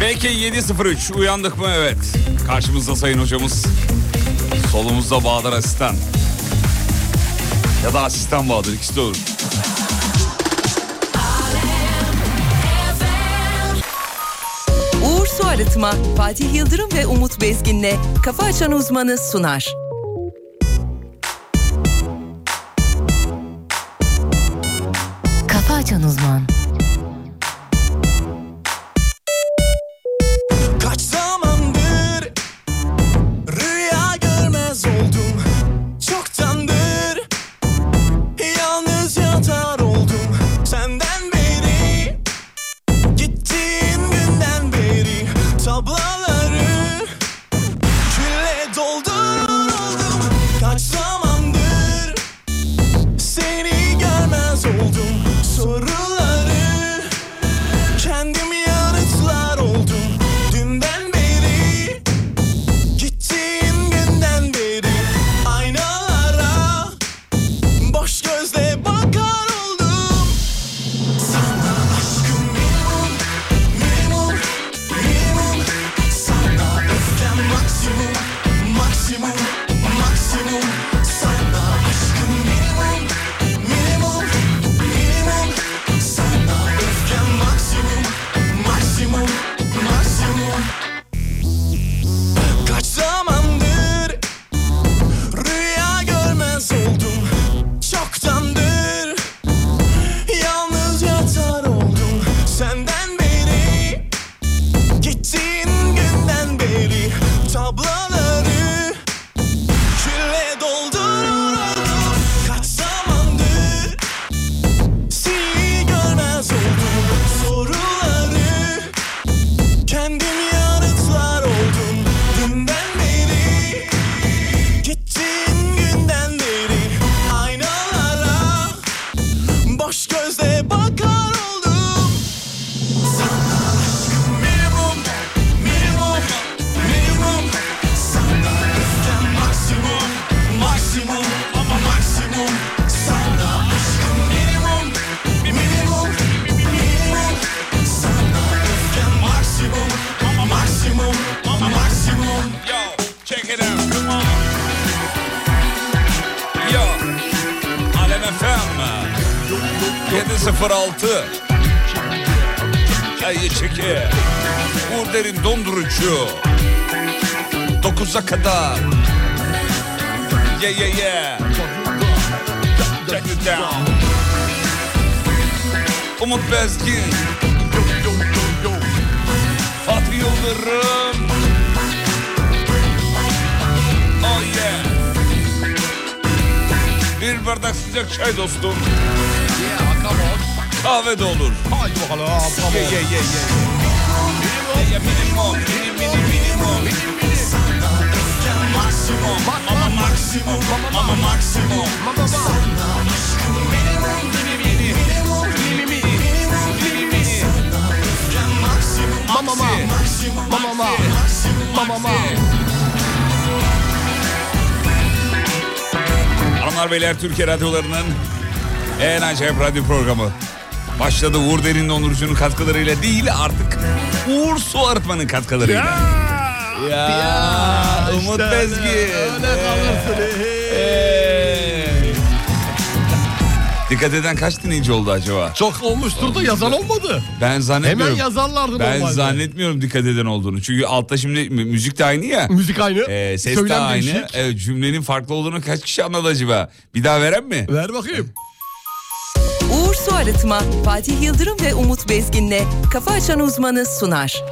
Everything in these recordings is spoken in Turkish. Peki 7.03 uyandık mı? Evet. Karşımızda sayın hocamız. Solumuzda Bahadır Asistan. Ya da Asistan Bahadır ikisi de olur. Uğur Su Arıtma, Fatih Yıldırım ve Umut Bezgin'le Kafa Açan Uzmanı sunar. Kafa Açan Uzman Kaç zamandır rüya görmez oldum Çoktandır yalnız yatar oldum Senden beri gittiğin günden beri Tablaları külle doldurdum Kaç zamandır seni görmez oldum Soruları Kendim yanıtlar oldum Dünden beri Gittiğin günden beri Aynalara Boş gözle bakar oldum Sana aşkım minimum Minimum Minimum Sana öfkem maksimum Maksimum Maksimum Sana aşkım minimum Minimum Minimum Sana öfkem maksimum Maksimum Maksimum Kaç zamandır rüya görmez oldum Çoktandır yalnız yatar oldum Senden beri gittiğin günden beri Tablaları külle doldurur oldum Kaç zamandır seni görmez oldum Soruları Kendim yanıtlar oldum Dünden beri Gittiğin günden beri Aynalara Boş gözle bakar oldum Sana aşkım minimum Minimum Minimum Sana öfkem maksimum Maksimum ama maksimum Sana aşkım minimum Minimum Minimum Sana öfkem maksimum Ama maksimum Ama maksimum Yo, check it out. Come on. Yo. Alem FM. 706. Ayı çeki. Uğur Derin dondurucu. 9'a kadar. Yeah yeah yeah. Check it down. Umut Bezgin. Fatih Yıldırım. Oh yeah. Bir bardak sıcak çay dostum. Kahve de olur. Haydi bakalım. Ye ye ye ye. Ye, ye, Minimum, minim, minim, minimum. Maksimum, ama maksimum, ama maksimum. Mama mama. Mama mama. Mama mama. Hanımlar beyler Türkiye radyolarının en acayip radyo programı. Başladı Uğur Derin Dondurucu'nun katkılarıyla değil artık Uğur Su Arıtma'nın katkılarıyla. Ya, Umut işte Bezgin. öyle kalırsın. Hey. Dikkat eden kaç dinleyici oldu acaba? Çok olmuştur da yazan olmadı. Ben zannetmiyorum. Hemen yazarlardı Ben normalde. zannetmiyorum dikkat eden olduğunu. Çünkü altta şimdi mü- müzik de aynı ya. Müzik aynı. Ee, ses de söylem aynı. değişik. Evet, cümlenin farklı olduğunu kaç kişi anladı acaba? Bir daha veren mi? Ver bakayım. Uğur Su Arıtma, Fatih Yıldırım ve Umut Bezgin'le Kafa Açan Uzmanı sunar.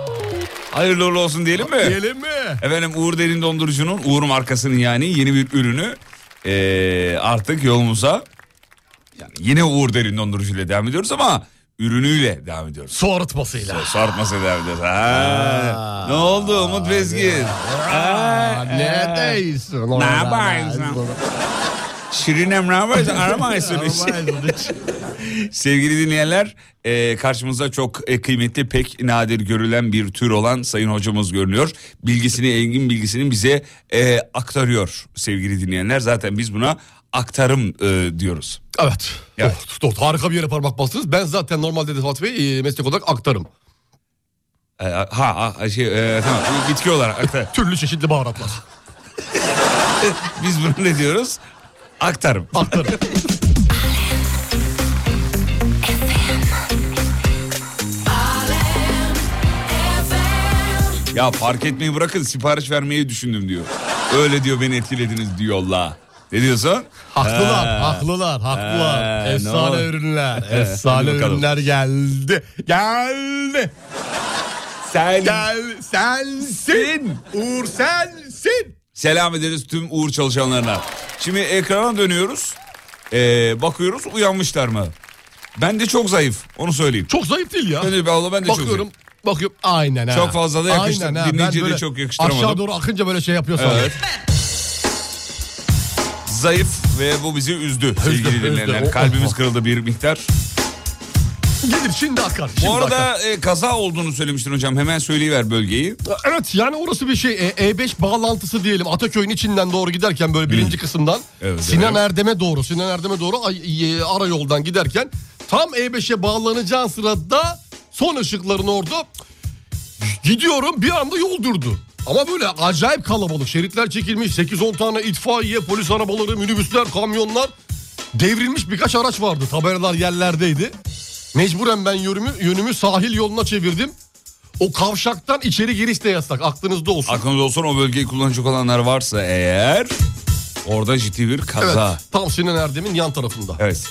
Hayırlı uğurlu olsun diyelim mi? Diyelim mi? Efendim Uğur Derin Dondurucu'nun Uğur markasının yani yeni bir ürünü ee, artık yolumuza yani yine Uğur Derin Dondurucu ile devam ediyoruz ama ürünüyle devam ediyoruz. Su arıtmasıyla. Sarpması ederdir. Ha. Ne oldu Umut Bezgin? Ha. Ne değilsin? Ee, Ne yaparsın? Şirin Emre yaparsın? Aramaysın hiç. Sevgili dinleyenler e, karşımıza çok e, kıymetli pek nadir görülen bir tür olan sayın hocamız görünüyor. Bilgisini engin bilgisini bize e, aktarıyor sevgili dinleyenler. Zaten biz buna aktarım e, diyoruz. Evet. Evet. Oh, oh, harika bir yere parmak bastınız. Ben zaten normalde de Fatih Bey e, meslek olarak aktarım. E, Ha, ha şey e, tamam bu bitki olarak aktar. Türlü çeşitli baharatlar. Biz bunu ne diyoruz? Aktarım. Aktarım. Ya fark etmeyi bırakın sipariş vermeyi düşündüm diyor. Öyle diyor beni etkilediniz diyor la. Ne diyorsun? Haklılar, Ha. haklılar, haklılar. Ha, ne efsane oldu? ürünler, hadi efsane bakalım. ürünler geldi. Geldi, Sen gel sensin. Uğur sensin. Selam ederiz tüm Uğur çalışanlarına. Şimdi ekrana dönüyoruz. Ee, bakıyoruz uyanmışlar mı? Ben de çok zayıf onu söyleyeyim. Çok zayıf değil ya. Hani Ben de, abla ben de çok Ah, Bakıyorum, zayıf. bakıyorum. Aynen ha. Çok fazla da yakıştı- Aynen ha. Ben dinleyiciye de böyle çok yakıştıramadım. Aşağı doğru akınca böyle şey yapıyorsun. Evet. Zayıf ve bu bizi üzdü sevgili üzdü. Oh, dinleyenler. O- o- Kalbimiz o. kırıldı bir miktar. Gidip şimdi akar. Şimdi Bu akar. arada e, kaza olduğunu söylemiştin hocam. Hemen söyleyiver bölgeyi. Evet yani orası bir şey E- E5 bağlantısı diyelim Ataköy'ün içinden doğru giderken böyle birinci kısımdan Evet, Sinan evet. Erdem'e doğru Sinan Erdem'e doğru ay- e, ara yoldan giderken tam E5'e bağlanacağın sırada son ışıkların orada gidiyorum bir anda yol durdu. Ama böyle acayip kalabalık şeritler çekilmiş 8-10 tane itfaiye polis arabaları minibüsler kamyonlar devrilmiş birkaç araç vardı tabelalar yerlerdeydi. Mecburen ben yönümü, yönümü sahil yoluna çevirdim. O kavşaktan içeri giriş de yasak aklınızda olsun. Aklınızda olsun o bölgeyi kullanacak olanlar varsa eğer orada ciddi bir evet, kaza. tam Sinan Erdem'in yan tarafında. Evet.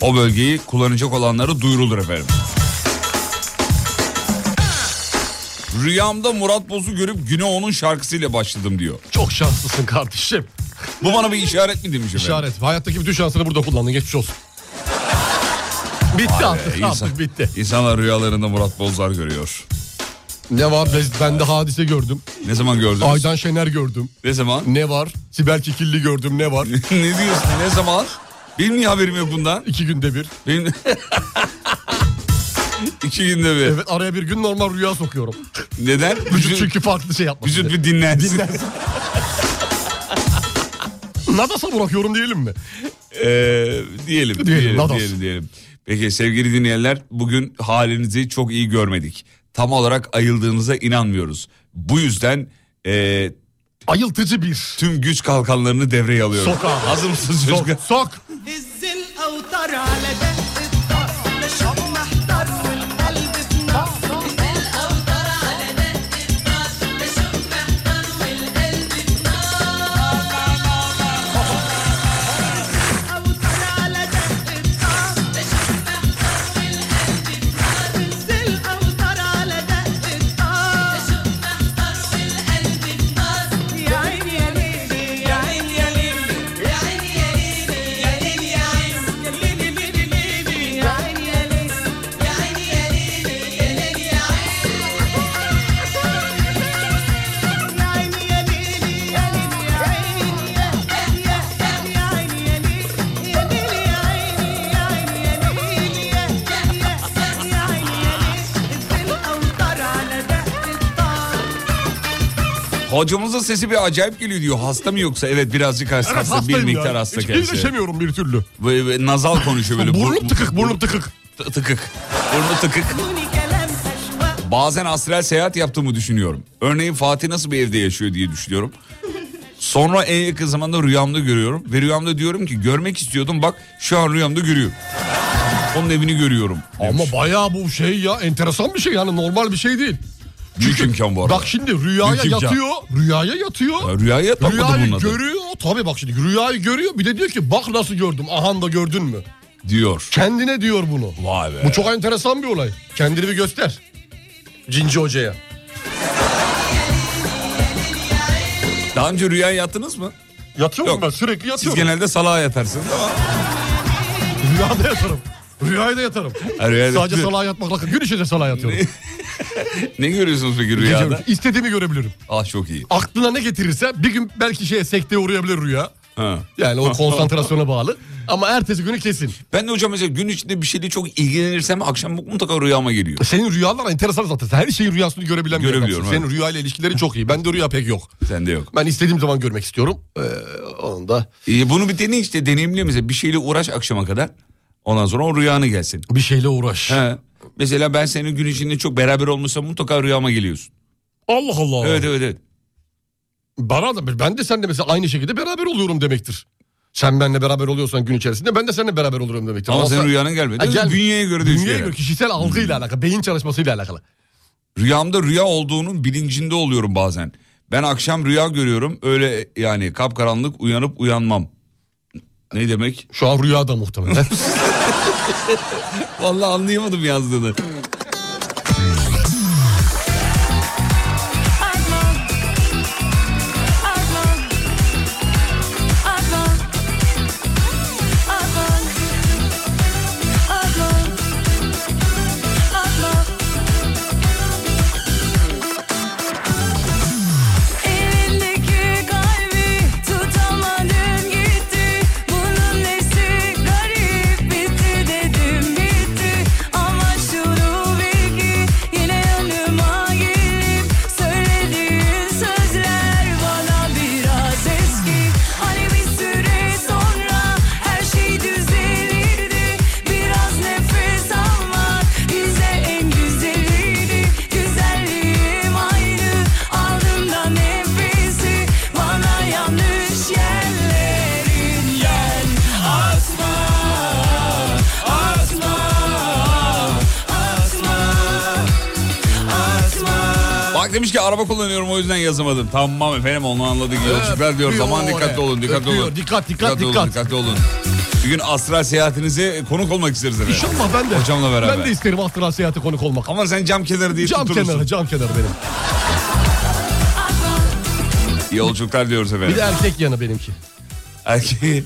O bölgeyi kullanacak olanları duyurulur efendim. Rüyamda Murat Boz'u görüp güne onun şarkısıyla başladım diyor. Çok şanslısın kardeşim. Bu bana bir işaret mi demiş efendim? İşaret. Hayattaki bütün şansını burada kullandın. Geçmiş olsun. Bitti artık. Ee, insan- Artık bitti. İnsanlar rüyalarında Murat Bozlar görüyor. Ne var? Bez- Ben de hadise gördüm. Ne zaman gördünüz? Aydan Şener gördüm. Ne zaman? Ne var? Sibel Kikilli gördüm. Ne var? ne diyorsun? Ne zaman? Benim niye haberim yok bundan? İki günde bir. Benim... İki günde bir. Evet araya bir gün normal rüya sokuyorum. Neden? Vücut çünkü farklı şey yapmasın. vücut diye. bir dinlensin. Nadas'a bırakıyorum diyelim mi? Ee, diyelim, diyelim, Nados. diyelim, diyelim. Peki sevgili dinleyenler bugün halinizi çok iyi görmedik. Tam olarak ayıldığınıza inanmıyoruz. Bu yüzden e, Ayıltıcı bir. tüm güç kalkanlarını devreye alıyorum. Sok abi. Hazır mısınız Sok, çocuklar? sok. هز الاوتار على دق الطرف مش محتار والقلب في نار يا عيني يا ليلي يا عيني يا ليلي يا عيني يا ليلي يا ليلي يا عيني يا ليلي ليلي ليلي يا عيني يا ليلي يا عيني يا ليلي يا ليلي يا عيني يا عيني يا ليلي يا ليلي يا عيني يا يا عيني يا ليلي يا ليلي يا عيني يا عيني يا ليلي يا يا عيني يا ليلي الزلقة والطر على دق الطار Hocamızın sesi bir acayip geliyor diyor. Hasta mı yoksa? Evet birazcık hasta. Evet hasta. bir hastayım miktar ya. hasta Hiç kendisi. iyileşemiyorum bir türlü. Ve- ve nazal konuşuyor böyle. Burnum Bur- tıkık, burnum tıkık. t- tıkık. Burnu tıkık. دوني كلام أشواق Bazen astral seyahat yaptığımı düşünüyorum. Örneğin Fatih nasıl bir evde yaşıyor diye düşünüyorum. Sonra en yakın zamanda rüyamda görüyorum. Ve rüyamda diyorum ki görmek istiyordum bak şu an rüyamda görüyor. Onun evini görüyorum. Ama bayağı bu şey ya enteresan bir şey yani normal bir şey değil. Büyük imkan bu arada. Bak şimdi rüyaya Büyük imkan. yatıyor, rüyaya yatıyor. Ya rüyaya takmadı Rüyayı bunun adı. görüyor. Tabii bak şimdi rüyayı görüyor. Bir de diyor ki bak nasıl gördüm. Ahan da gördün mü? diyor. Kendine diyor bunu. Vay be. Bu çok enteresan bir olay. Kendini bir göster. Cinci hocaya. Daha önce rüyaya yattınız mı? Yatıyor Yok. muyum ben? Sürekli Siz yatıyorum. genelde salağa yatarsınız ama. Rüyada yatarım. Rüyaya da yatarım. Ha, rüyaya da- Sadece salağa yatmakla. Gün içinde salağa yatıyorum. Ne görüyorsunuz peki rüyada? Gece- İstediğimi görebilirim. Ah çok iyi. aklına ne getirirse bir gün belki şeye sekteye uğrayabilir rüya. Ha. Yani o konsantrasyona bağlı. Ama ertesi günü kesin. Ben de hocam mesela gün içinde bir şeyle çok ilgilenirsem akşam mutlaka rüyama geliyor. Senin rüyalar enteresan zaten. Sen Her şeyin rüyasını görebilen bir Görebiliyorum, adamsın. Senin rüyayla ilişkileri çok iyi. Bende rüya pek yok. Sende yok. Ben istediğim zaman görmek istiyorum. Ee, onun da Ee, bunu bir deneyin işte deneyimle mesela bir şeyle uğraş akşama kadar. Ondan sonra o rüyanı gelsin. bir şeyle uğraş. He. Mesela ben senin gün içinde çok beraber olmuşsam mutlaka rüyama geliyorsun. Allah Allah. Evet evet evet. Bana da ben de seninle mesela aynı şekilde beraber oluyorum demektir. Sen benimle beraber oluyorsan gün içerisinde ben de seninle beraber oluyorum demektir. Ama senin sen- rüyanın gelmedi. Ha, gel- Dünyaya göre Dünyaya değişiyor. yani. göre kişisel algıyla alakalı, beyin çalışmasıyla alakalı. Rüyamda rüya olduğunun bilincinde oluyorum bazen. Ben akşam rüya görüyorum. Öyle yani kapkaranlık uyanıp uyanmam. Ne demek? Şu an rüyada muhtemelen. Vallahi anlayamadım yazdığını. Evindeki kalbi tutamadım gitti Bunun nesi garip bitti dedim bitti Ama şunu bil ki yine yanıma gelip Söylediğin sözler bana biraz eski Hani bir süre sonra her şey düzelirdi Biraz nefes almak bize en güzeliydi Güzelliğim aynı Aldığımda nefesi Bana yanlış yerlerinden Atma Atma Atma Atma Bak demiş ki araba kullanıyorum o yüzden yazamadım. Tamam efendim onu anladık. Yolculuklar diyorum. öpüyor Aman dikkatli oraya. olun dikkatli Öpüyor. olun. Dikkat, dikkat, Olun, dikkat. dikkatli olun. Bir gün astral seyahatinize konuk olmak isteriz efendim. İnşallah Şey ben de. Hocamla beraber. Ben de isterim astral seyahate konuk olmak. Ama sen cam kenarı diye Cam tuturursun. kenarı, cam kenarı benim. Yolculuklar diyoruz efendim. Bir de erkek yanı benimki. Erkek,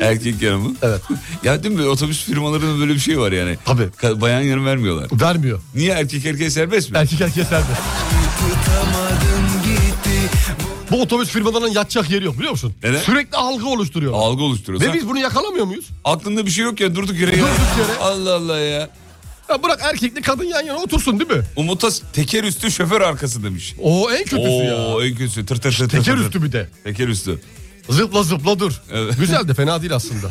erkek yanı mı? Evet. Ya değil mi otobüs firmalarının böyle bir şey var yani. Tabii. Ka- Bayan yanı vermiyorlar. Vermiyor. Niye erkek erkeğe serbest mi? Erkek erkeğe serbest. Bu otobüs firmalarının yatacak yeri yok biliyor musun? Neden? Sürekli algı oluşturuyorlar. Algı oluşturuyor. Ve Sen- biz bunu yakalamıyor muyuz? Aklında bir şey yok ya durduk yere. Durduk yere. Allah Allah ya. Ya bırak erkekli kadın yan yana otursun değil mi? Umut'a teker üstü şoför arkası demiş. O en kötüsü ya. Oo en kötüsü. Tır tır tır tır Teker tır tır. üstü bir de. Teker üstü. Zıpla zıpla dur. Evet. Güzel de fena değil aslında.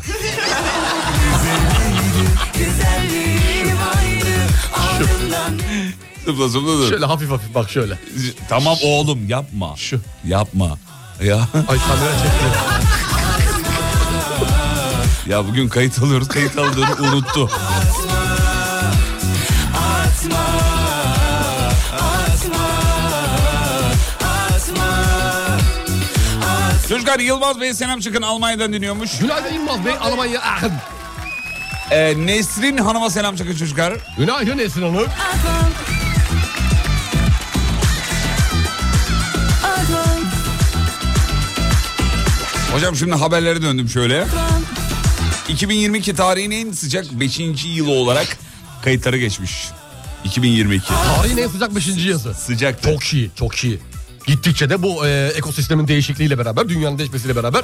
Güzelliğim aynı Aldığımda Zıpla zıpla dur. Şöyle hafif hafif bak şöyle. Tamam oğlum yapma. Şu. Yapma. Ya Ay kamera çekti. ya bugün kayıt alıyoruz. Kayıt aldığını unuttu. Atma Atma Atma Çocuklar Yılmaz Bey selam çıkın Almanya'dan dinliyormuş. Günaydın Yılmaz Bey Almanya. Ah! Ee, Nesrin Hanım'a selam çıkın çocuklar. Günaydın Esin Hanım. Hocam şimdi haberlere döndüm şöyle. 2022 tarihin en sıcak 5. yılı olarak kayıtlara geçmiş. 2022 Tarihin en sıcak 5. yazı. sıcaktı. Çok iyi, çok iyi. Gittikçe de bu e, ekosistemin değişikliğiyle beraber, dünyanın değişmesiyle beraber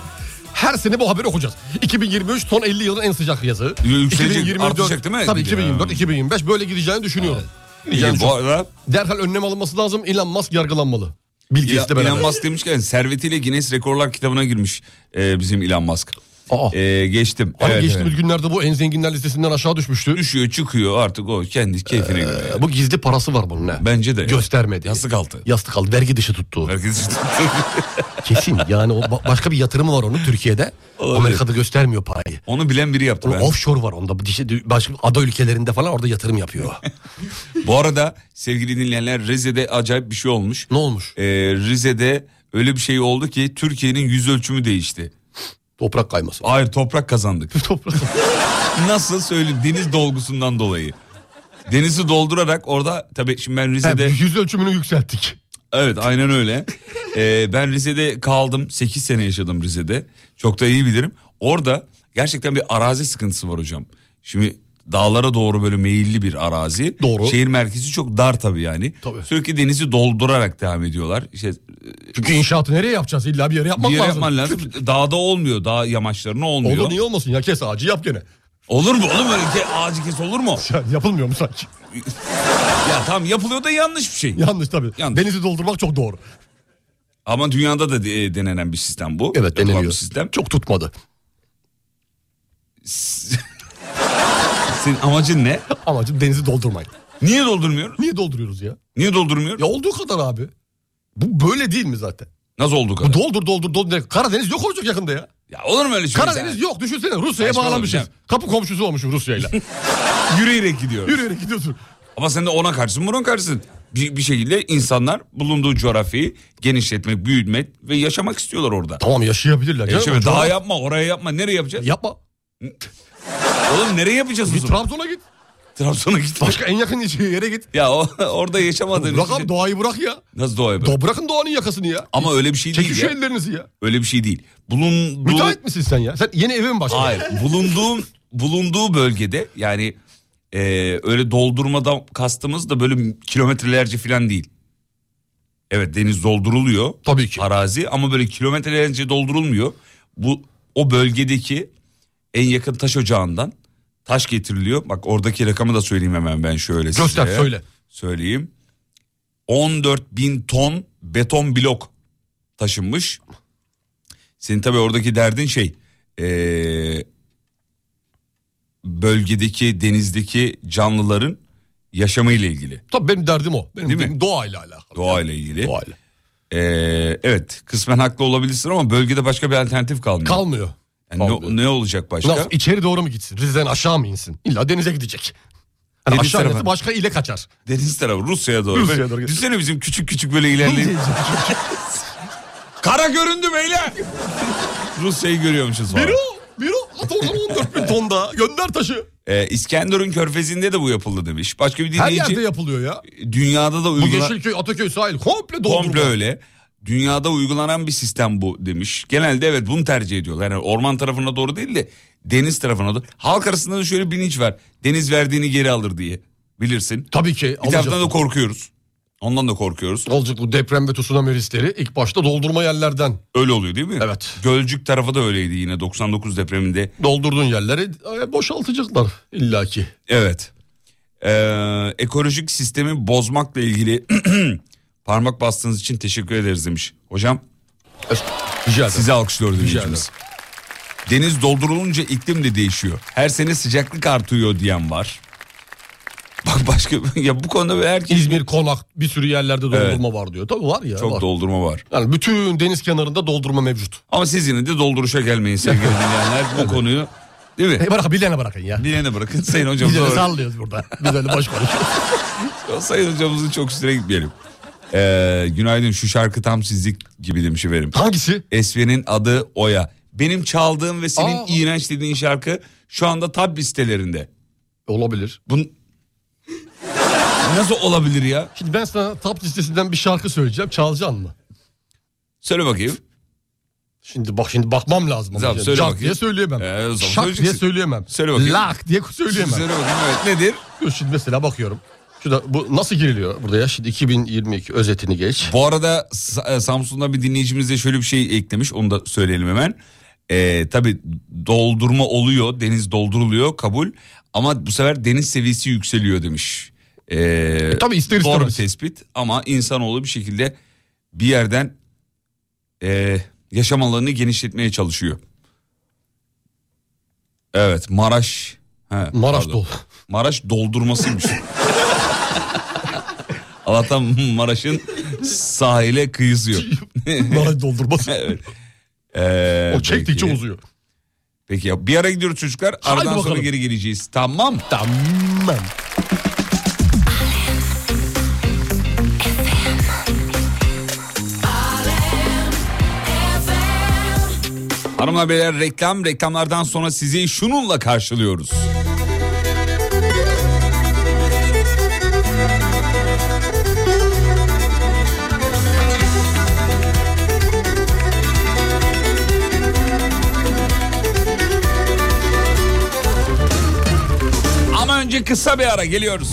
her sene bu haberi okuyacağız. 2023 son 50 yılın en sıcak yazı. Yükselecek, artacak değil mi? Tabii Ya. 2024, 2025 böyle gideceğini düşünüyorum. İyi, Gideceğini bu düşünüyorum. arada Derhal önlem alınması lazım. Elon Musk yargılanmalı. Bilgisiyle İla- beraber. Elon Musk demişken servetiyle Guinness Rekorlar kitabına girmiş e, bizim Elon Musk. Aa. E, geçtim. Hani Evet, geçtiğimiz evet. günlerde bu en zenginler listesinden aşağı düşmüştü. Düşüyor çıkıyor artık o kendi keyfine göre. Bu gizli parası var bunun ha. Bence de. Göstermedi. Yastık altı. Yastık aldı. Vergi dışı tuttu. Herkes Kesin yani o ba- başka bir yatırımı var onun Türkiye'de. Olabilir. Amerika'da göstermiyor parayı. Onu bilen biri yaptı. Onun ben. offshore var onda. Dişe- Başka ada ülkelerinde falan orada yatırım yapıyor. Bu arada sevgili dinleyenler Rize'de acayip bir şey olmuş. ne olmuş? Ee, Rize'de öyle bir şey oldu ki Türkiye'nin yüz ölçümü değişti. Toprak kayması. Hayır toprak kazandık. Toprak. Nasıl söyleyeyim deniz dolgusundan dolayı. Denizi doldurarak orada tabii şimdi ben Yani Rize'de yüz ölçümünü yükselttik. evet aynen öyle. Ee, ben Rize'de kaldım 8 sene yaşadım Rize'de. Çok da iyi bilirim. Orada gerçekten bir arazi sıkıntısı var hocam. Şimdi dağlara doğru böyle meyilli bir arazi. Doğru. Şehir merkezi çok dar tabii yani. Tabii. Sürekli denizi doldurarak devam ediyorlar. İşte Çünkü inşaatı nereye yapacağız? İlla bir yere yapmak bir yere lazım. yapman lazım. Dağda olmuyor. Dağ yamaçlarına olmuyor. Olur niye olmasın ya kes ağacı yap gene. Olur mu oğlum öyle ke- ağacı kes olur mu? Ya yapılmıyor mu sanki? Ya tamam yapılıyor da yanlış bir şey. Yanlış tabii. Yanlış. Denizi doldurmak çok doğru. Ama dünyada da de- e, denenen bir sistem bu. Yapılan bir sistem. Çok tutmadı. Senin amacın ne? Amacım denizi doldurmak. Niye doldurmuyoruz? Niye dolduruyoruz ya? Niye doldurmuyoruz? Ya olduğu kadar abi. Bu böyle değil mi zaten? Nasıl olduk? Bu doldur doldur doldur. Karadeniz yok olacak yakında ya. Ya olur mu öyle şey? Karadeniz yok düşünsene Rusya'ya Saçma bağlanmışız. olacak. Kapı komşusu olmuşum Rusya'yla. Yürüyerek gidiyoruz. Yürüyerek gidiyorsun. Ama sen de ona karşısın buna karşısın. Bir, bir şekilde insanlar bulunduğu coğrafyayı genişletmek, büyütmek ve yaşamak istiyorlar orada. Tamam yaşayabilirler. canım. Yaşamak. Daha Coğrafya- yapma, oraya yapma. Nereye yapacağız? Yapma. Oğlum nereye yapacağız? Bir o zaman? Trabzon'a git. Trabzon'a git. Başka en yakın şey yere git. Ya o, orada yaşamadığın Rakam için- doğayı bırak ya. Nasıl doğa yapıyor? Do bırakın doğanın yakasını ya. Ama öyle bir şey Çekin değil şu ya. ellerinizi ya. Öyle bir şey değil. Bulunduğu... Müteahhit misin sen ya? Sen yeni eve mi başladın? Hayır. Bulunduğum, bulunduğu bölgede yani e, öyle doldurmadan kastımız da böyle kilometrelerce falan değil. Evet deniz dolduruluyor. Tabii ki. Arazi ama böyle kilometrelerce doldurulmuyor. Bu o bölgedeki en yakın taş ocağından taş getiriliyor. Bak oradaki rakamı da söyleyeyim hemen ben şöyle Göster, size. söyle. Söyleyeyim. 14 bin ton beton blok taşınmış. Senin tabii oradaki derdin şey eee, bölgedeki denizdeki canlıların yaşamıyla ilgili. Tabii benim derdim o. Benim, Değil mi? benim doğayla alakalı. Doğayla ilgili. Doğayla. Eee, evet kısmen haklı olabilirsin ama bölgede başka bir alternatif kalmıyor. Kalmıyor. Yani Kalmıyor. ne, ne olacak başka? Nasıl içeri doğru mu gitsin? Rize'den aşağı mı insin? İlla denize gidecek. Hani Deniz aşağı tarafı. inmesi başka ile kaçar. Deniz tarafı Rusya'ya doğru. Rusya'ya Böyle- doğru. Düşünsene bizim küçük küçük böyle ilerleyip. Kara göründü beyler. Rusya'yı görüyormuşuz falan. Biri o. Biri o. At o zaman 14 bin ton daha. Gönder taşı. Ee, İskenderun körfezinde de bu yapıldı demiş. Başka bir Her dinleyici yerde yapılıyor ya. dünyada da Bu uygulanan... Yeşilköy, Ataköy sahil komple doldurma. Komple öyle. Dünyada uygulanan bir sistem bu demiş. Genelde evet bunu tercih ediyorlar. Yani orman tarafına doğru değil de deniz tarafına doğru. Halk arasında da şöyle bilinç var. Deniz verdiğini geri alır diye. Bilirsin. Tabii ki. Bir alacak. taraftan da korkuyoruz. Ondan da korkuyoruz. Olacak bu deprem ve tsunami riskleri ilk başta doldurma yerlerden Öyle oluyor değil mi? Evet. Gölcük tarafı da öyleydi yine 99 depreminde. doldurduğun yerleri e, boşaltacaklar illaki. Evet. Ee, ekolojik sistemi bozmakla ilgili parmak bastığınız için teşekkür ederiz demiş. Hocam Es- Rica ederim. Sizi alkışlıyor dinleyicimiz. ederim. Deniz doldurulunca iklim de değişiyor. Her sene sıcaklık artıyor diyen var. Bak başka ya bu konuda herkes İzmir, Konak bir sürü yerlerde doldurma var diyor. Tabii var ya. çok var. doldurma var. Yani bütün deniz kenarında doldurma mevcut. Ama siz yine de dolduruşa gelmeyin sevgili dinleyenler. Bu konuyu değil mi? E bırak bilene bırakın ya. Bilene bırakın Sayın Biz hocamıza. öyle bırakın. sallıyoruz burada. Biz öyle boş konuşuyoruz. Sayın hocamızın çok üstüne gitmeyelim. Ee, günaydın şu şarkı tam sizlik gibi demiş efendim. Hangisi? Esve'nin adı Oya. Benim çaldığım ve senin Aa. iğrenç dediğin şarkı şu anda tab listelerinde. Olabilir. Bun... Nasıl olabilir ya? Şimdi ben sana top listesinden bir şarkı söyleyeceğim. Çalacaksın mı? Söyle bakayım. Şimdi bak şimdi bakmam lazım. ama Tamam, yani. söyle Cart bakayım. diye söyleyemem. Ee, o zaman Şak söyleyeceksin. diye söyleyemem. Söyle bakayım. Lak diye söyleyemem. Söyle bakayım evet nedir? Dur Şimdi mesela bakıyorum. Şurada bu nasıl giriliyor burada ya? Şimdi 2022 özetini geç. Bu arada Sa- e, Samsun'da bir dinleyicimiz de şöyle bir şey eklemiş. Onu da söyleyelim hemen. Ee, tabii doldurma oluyor. Deniz dolduruluyor kabul. Ama bu sefer deniz seviyesi yükseliyor demiş. Ee, tabii ister Doğru bir istemez. tespit ama insanoğlu bir şekilde bir yerden e, yaşam alanını genişletmeye çalışıyor. Evet Maraş. he, Maraş pardon. dol. Maraş doldurmasıymış. Allah'tan Maraş'ın sahile kıyısı yok. Maraş doldurması. Ee, o çektikçe peki. uzuyor. Peki ya bir ara gidiyoruz çocuklar. Aradan sonra bakalım. geri geleceğiz. Tamam. Tamam. Hanımlar beyler reklam reklamlardan sonra sizi şununla karşılıyoruz. Ama önce kısa bir ara geliyoruz.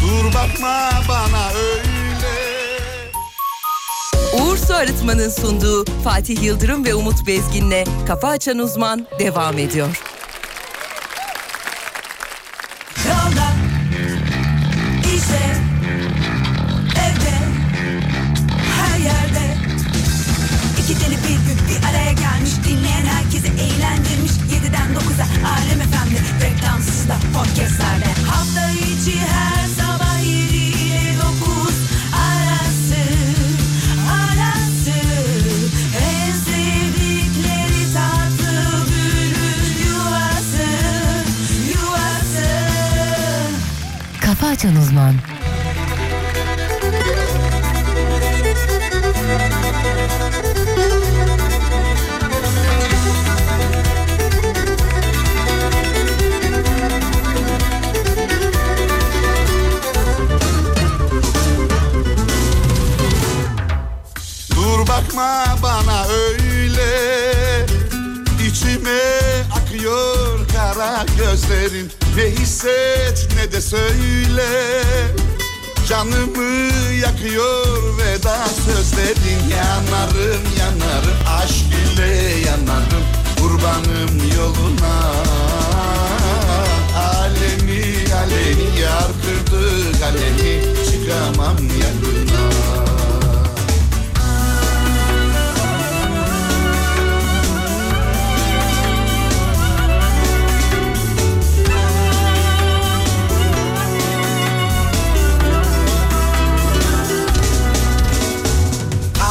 Dur bakma bana öyle Uğur Su Arıtma'nın sunduğu Fatih Yıldırım ve Umut Bezgin'le Kafa Açan Uzman devam ediyor. Yolda işe Evde Her yerde İki deli bir gün bir araya gelmiş Dinleyen herkese eğlendirmiş 7'den 9'a Alem Efendi reklamsızda Kafa Açan Uzman. Dur bakma bana öyle İçime akıyor kara gözlerin Ne hisset ne de söyle Canımı yakıyor veda sözlerin Yanarım yanarım aşk ile yanarım Kurbanım yoluna Alemi alemi yar kırdı kalemi Çıkamam yakına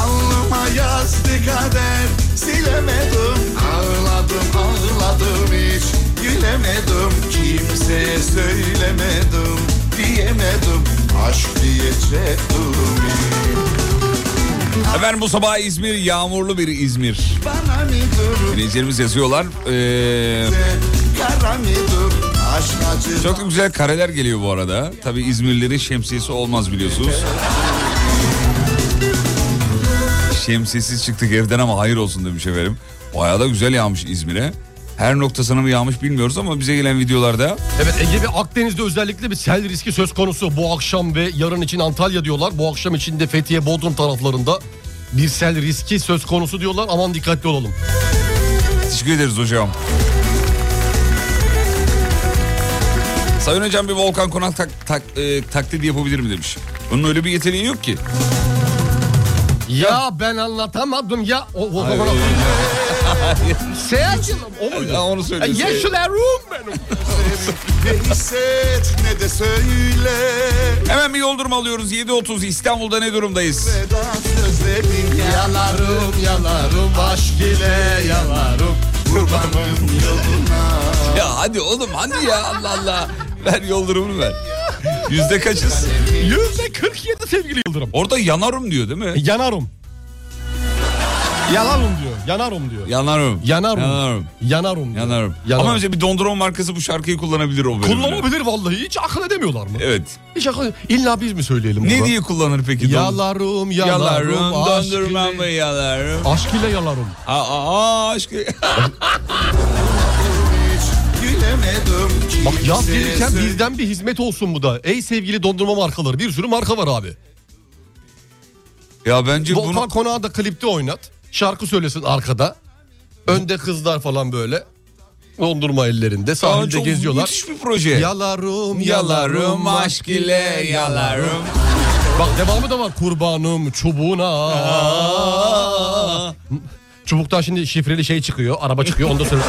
Alnıma yazdı kader silemedim Ağladım ağladım hiç gülemedim Kimseye söylemedim diyemedim Aşk diyecek durum Efendim bu sabah İzmir yağmurlu bir İzmir. Bana mı dur Dinleyicilerimiz yazıyorlar. Ee, kara mı dur Aşk acı çok da güzel kareler geliyor bu arada. Tabii İzmirlilerin şemsiyesi olmaz biliyorsunuz. Şemsiyesiz çıktık evden ama hayır olsun demiş efendim. Bayağı da güzel yağmış İzmir'e. Her noktasına mı yağmış bilmiyoruz ama bize gelen videolarda Evet Ege ve Akdeniz'de özellikle bir sel riski söz konusu. Bu akşam ve yarın için Antalya diyorlar. Bu akşam için de Fethiye, Bodrum taraflarında bir sel riski söz konusu diyorlar. Aman dikkatli olalım. teşekkür ederiz hocam. Sayın hocam bir volkan konak tak, tak, e, taklidi yapabilir mi demiş. Bunun öyle bir yeteneği yok ki. Ya ben anlatamadım ya. O, o, o, Seyircim o muydu? Ya onu söylüyorsun. Yeşil Erum benim. Ne hisset ne de söyle Hemen bir yol durumu alıyoruz. 7.30 İstanbul'da ne durumdayız? Veda sözlerin Yalarım yalarım aşk ile yalarım. Kurbanım yoluna Ya hadi oğlum hadi ya Allah Allah. Ver yol durumunu ver. Yüzde kaçız? Yüzde 47 sevgili Yıldırım. Orada yanarım diyor değil mi? Yanarım. Yanarım E, diyor. Yanarım diyor. Yanarım. Yanarım. Yanarım. Yanarım. diyor. Yanarım. Yanarım. Ama mesela bir dondurma markası bu şarkıyı kullanabilir o bölümde. Kullanabilir vallahi. Hiç akıl edemiyorlar mı? Evet. Hiç akıl İlla biz mi söyleyelim Ne bunu? diye kullanır peki? don- Yalarım, yalarım, Yalarım, aşk dondurmamı ile- yalarım. Aşk ile yalarım. Aa, aa, aşkı. Gülemedim kimseye Bak yaz gelirken söyle- bizden bir hizmet olsun bu da. Ey sevgili dondurma markaları. Bir sürü marka var abi. ya bence Volkan bunu... Konağı da klipte oynat. Şarkı söylesin arkada. Önde kızlar falan böyle. Dondurma ellerinde Aa, sahilde çok geziyorlar. müthiş bir proje. Yalarım, yalarım, aşk ile yalarım. Bak devamı da var. Kurbanım çubuğuna. Çubuktan şimdi şifreli şey çıkıyor. Araba çıkıyor. Onda sonra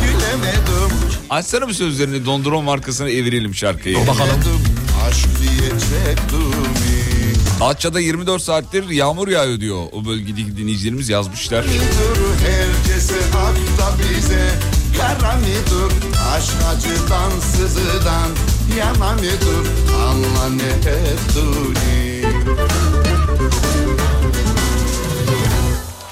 Gülemedim Açsana bir sözlerini dondurma markasına evirelim şarkıyı. bakalım. Aşk diyecek durum Datça'da 24 saattir yağmur yağıyor diyor. O bölgedeki dinleyicilerimiz yazmışlar. Dur herkese akla bize Kara mıdır aşk acıdan sızıdan Yana mıdır anla ne ettiğini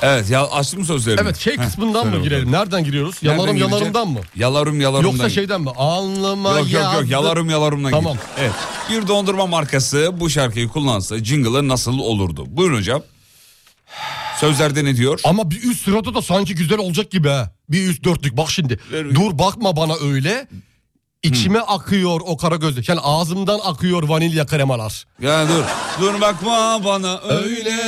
Evet ya açtım sözlerini. Evet şey kısmından mı söyle girelim? Nereden giriyoruz? Yalarım Nereden yalarımdan mı? girecek? Yalarım yalarımdan. Yoksa şeyden mi? Anlama Yok yok yok yazdım. yalarım yalarımdan Tamam. gir. Evet. Bir dondurma markası bu şarkıyı kullansa jingle'ı nasıl olurdu? Buyurun hocam. Sözlerde ne diyor? Ama bir üst sırada da sanki güzel olacak gibi ha. Bir üst dörtlük bak şimdi. Ver- Dur bakma bana öyle. İçime akıyor o kara gözlük. Yani ağzımdan akıyor vanilya kremalar. Ya dur. Dur bakma bana öyle.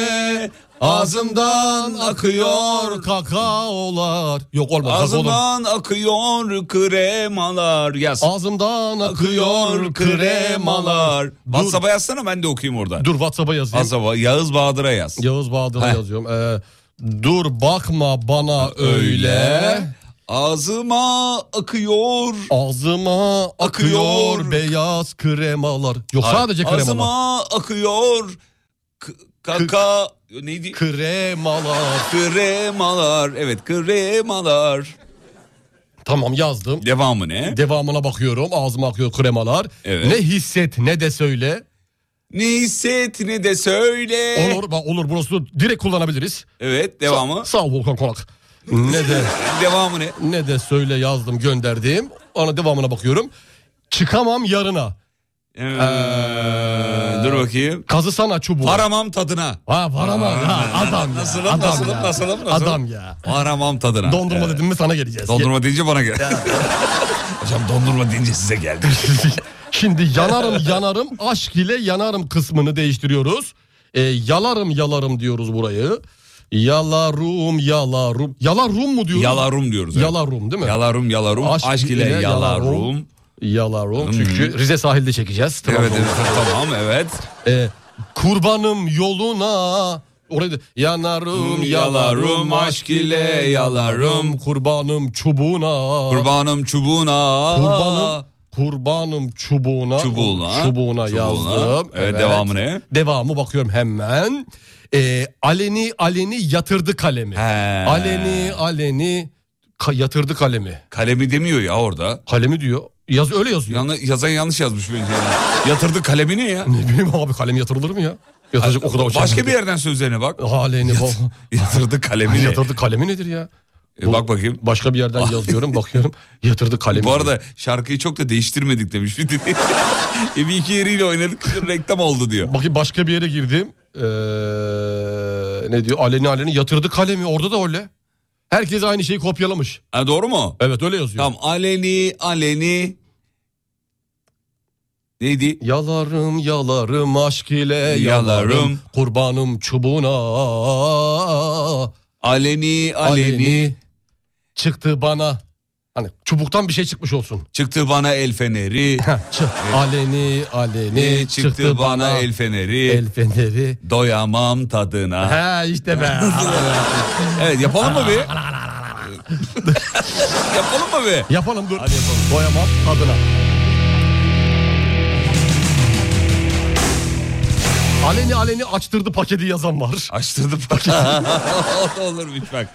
Ağzımdan akıyor. kakaolar. Yok olmaz. Ağzımdan, Ağzımdan akıyor kremalar. Yaz. ağzımdan akıyor kremalar. Dur, WhatsApp'a yazsana ben de okuyayım orada. dur WhatsApp'a yazayım. WhatsApp'a Yağız Bahadır'a yaz. Yağız Bahadır'a Heh. yazıyorum. Ee, dur bakma bana öyle. Ağzıma akıyor. Ağzıma akıyor, Akıyor. beyaz kremalar. Yok sadece kremalar. Ağzıma akıyor. K- kaka neydi? Kremalar. kremalar. Evet kremalar. Tamam yazdım. Devamı ne? Devamına bakıyorum. Ağzıma akıyor kremalar. Evet. Ne hisset ne de söyle. ne hisset ne de söyle. Olur bak olur burası direkt kullanabiliriz. Evet devamı. Sağ ol Volkan Konak. Ne de devamı ne? ne de söyle yazdım gönderdim. Ona devamına bakıyorum. Çıkamam yarına. Ee, dur bakayım. Kazı sana çubuğu. Aramam tadına. Ha var ama ha, adam ya. Nasılım, adam nasılım, ya. nasılım, nasılım? Adam ya. Aramam tadına. Dondurma Evet. dedim mi sana geleceğiz. Dondurma deyince bana geldi. Hocam dondurma deyince size geldi. Şimdi yanarım yanarım aşk ile yanarım kısmını değiştiriyoruz. Ee, yalarım yalarım diyoruz burayı. Yalarım yalarım. Yalarım mu diyoruz? Yalarum diyoruz. evet. Yalarum değil mi? Yalarum yalarum. Aşk, ile yalarum. Hmm. Yalarum. Çünkü Rize sahilde çekeceğiz. Evet, Trabzon'da. evet tamam evet. Ee, kurbanım yoluna. Orada yanarım yalarım aşk ile yalarım kurbanım çubuğuna. Kurbanım çubuğuna. Kurbanım kurbanım çubuğuna. Çubuğuna. Çubuğuna Çubuğuna. yazdım. Evet, devamı ne? Devamı bakıyorum hemen. Ee, aleni aleni yatırdı kalemi. He. Aleni aleni ka- yatırdı kalemi. Kalemi demiyor ya orada. Kalemi diyor. Yaz öyle yazıyor. Yanı, yazan yanlış yazmış bence. Yatırdı kalemi ne ya? Ne bileyim abi kalem yatırılır mı ya? Yatacak o kadar Başka bir yerden sözlerine bak. Haleni bak. Yatırdı kalemi ne? Yatırdı kalemi nedir ya? E, bak bakayım. Başka bir yerden yazıyorum bakıyorum. Yatırdı kalemi. Bu arada şarkıyı çok da değiştirmedik demiş bir dinleyici. e, bir iki yeriyle oynadık reklam oldu diyor. Bakayım başka bir yere girdim. Ee, ne diyor? Aleni aleni yatırdı kalemi. Orada da öyle. Herkes aynı şeyi kopyalamış. Ha, doğru mu? Evet öyle yazıyor. Tamam aleni aleni. Neydi? Yalarım yalarım aşk ile yalarım, Yalarım. kurbanım çubuğuna Aleni aleni. aleni çıktı bana hani çubuktan bir şey çıkmış olsun Çıktı bana el feneri. Heh, çı- aleni aleni E, çıktı, bana el feneri. el feneri. Doyamam tadına. Ha işte be. Evet yapalım mı bir? yapalım mı bir? yapalım dur. Hadi yapalım. Doyamam tadına. Aleni aleni açtırdı paketi yazan var. Açtırdım. o da olurmuş bak.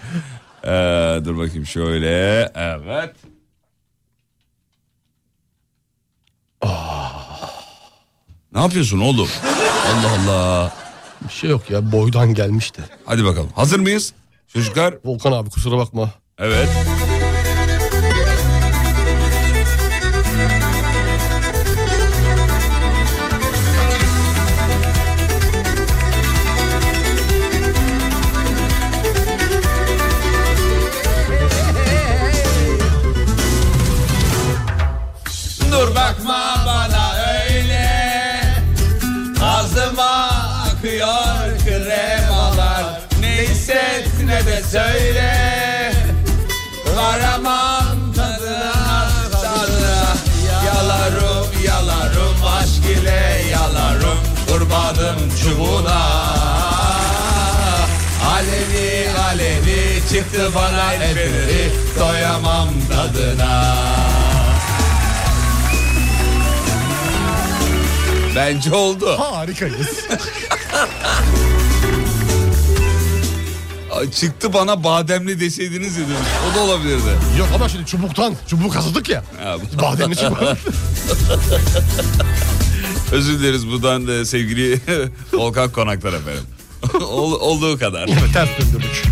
Ee, dur bakayım şöyle. Evet. Ah. Ne yapıyorsun oğlum? Allah Allah. Bir şey yok ya boydan gelmişti. Hadi bakalım. Hazır mıyız? Çocuklar. Volkan abi kusura bakma. Evet. Dur bakma bana öyle Ağzıma akıyor kremalar Ne hisset ne de söyle Varamam tadına tadına Yalarım yalarım aşk ile yalarım Kurbanım çubuğuna Aleni aleni çıktı bana el feneri Doyamam tadına Bence oldu. Harikayız. Ay, Çıktı bana bademli deseydiniz ya demiş. O da olabilirdi. yok ama şimdi çubuktan çubuk kazıdık ya. Ha, bu- Bademli çubuk. Özür dileriz buradan da sevgili Volkan Konaklar efendim. Ol- olduğu kadar. Evet, Ters döndürdük.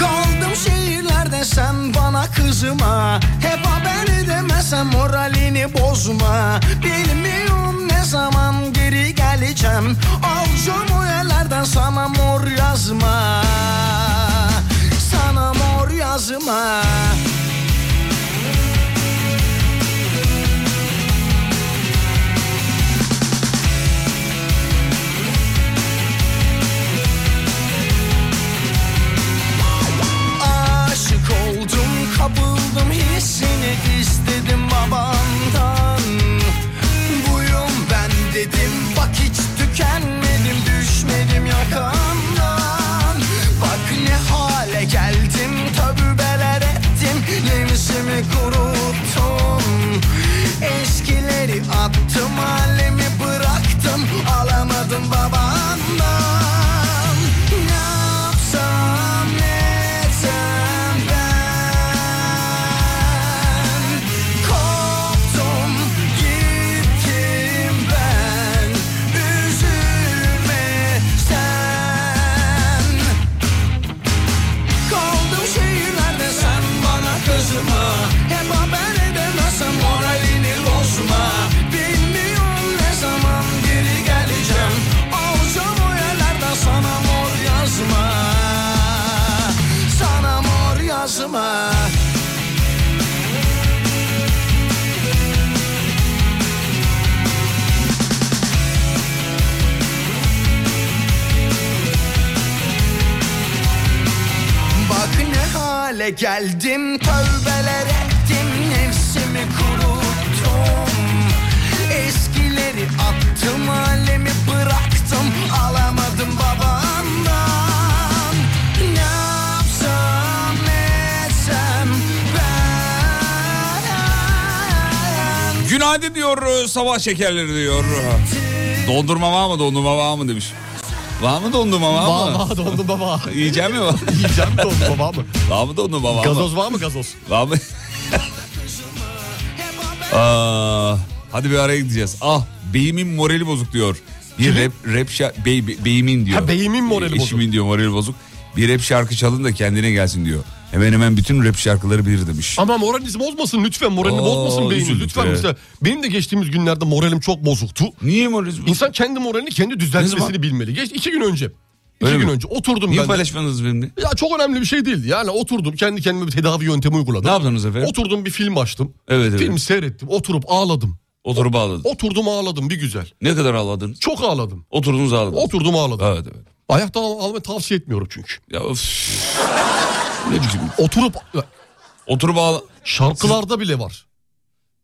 Kaldım şehirlerde sen bana kızma Hep haber edemezsem moralini bozma Bilmiyorum ne zaman geri geleceğim Alacağım o yerlerden sana mor yazma Sana mor yazma Aşık oldum kapıldım hissini istedim babamdan Buyum ben dedim bak hiç tükenmedim düşmedim yakamdan Bak ne hale geldim tövbeler ettim ama Bak ne hale geldim Tövbeler ettim Nefsimi kuruttum Eskileri attım Alemi bıraktım Alamadım babamdan Ne yapsam ne etsem Ben Günaydın diyor sabah şekerleri diyor. Dondurma var mı dondurma var mı demiş. Var mı dondurma var mı? Baba dondu baba. Yiyeceğim mi var? Yiyeceğim dondu baba mı? Var mı dondurma var mı? Gazoz var mı gazoz? Var mı? Aa, hadi bir araya gideceğiz. Ah beyimin morali bozuk diyor. Bir rap, rap şa- bey- be- beyimin diyor. Ha, beyimin morali bozuk. Eşimin diyor morali bozuk. Bir rap şarkı çalın da kendine gelsin diyor. Hemen hemen bütün rap şarkıları bilir demiş. Ama moralinizi bozmasın lütfen moralini Oo, bozmasın beyniniz üzüldük lütfen. be. Mesela benim de geçtiğimiz günlerde moralim çok bozuktu. Niye morali bozuk? İnsan kendi moralini Ne kendi zaman? düzeltmesini bilmeli. Geç iki gün önce. İki Öyle gün mi? önce oturdum Niye ben. de. paylaşmadınız benimle? Ya çok önemli bir şey değil. Yani oturdum kendi kendime bir tedavi yöntemi uyguladım. Ne yaptınız efendim? Oturdum bir film açtım. Evet, evet. Film seyrettim. Oturup ağladım. Oturup ağladın. Oturdum ağladım bir güzel. Ne kadar ağladın? Çok ağladım. Oturdunuz ağladın. Oturdum ağladım. Evet evet. Ayakta ağlamayı tavsiye etmiyorum çünkü. Ya öf. Ne biçim? Oturup Oturup ağla... şarkılarda bile var.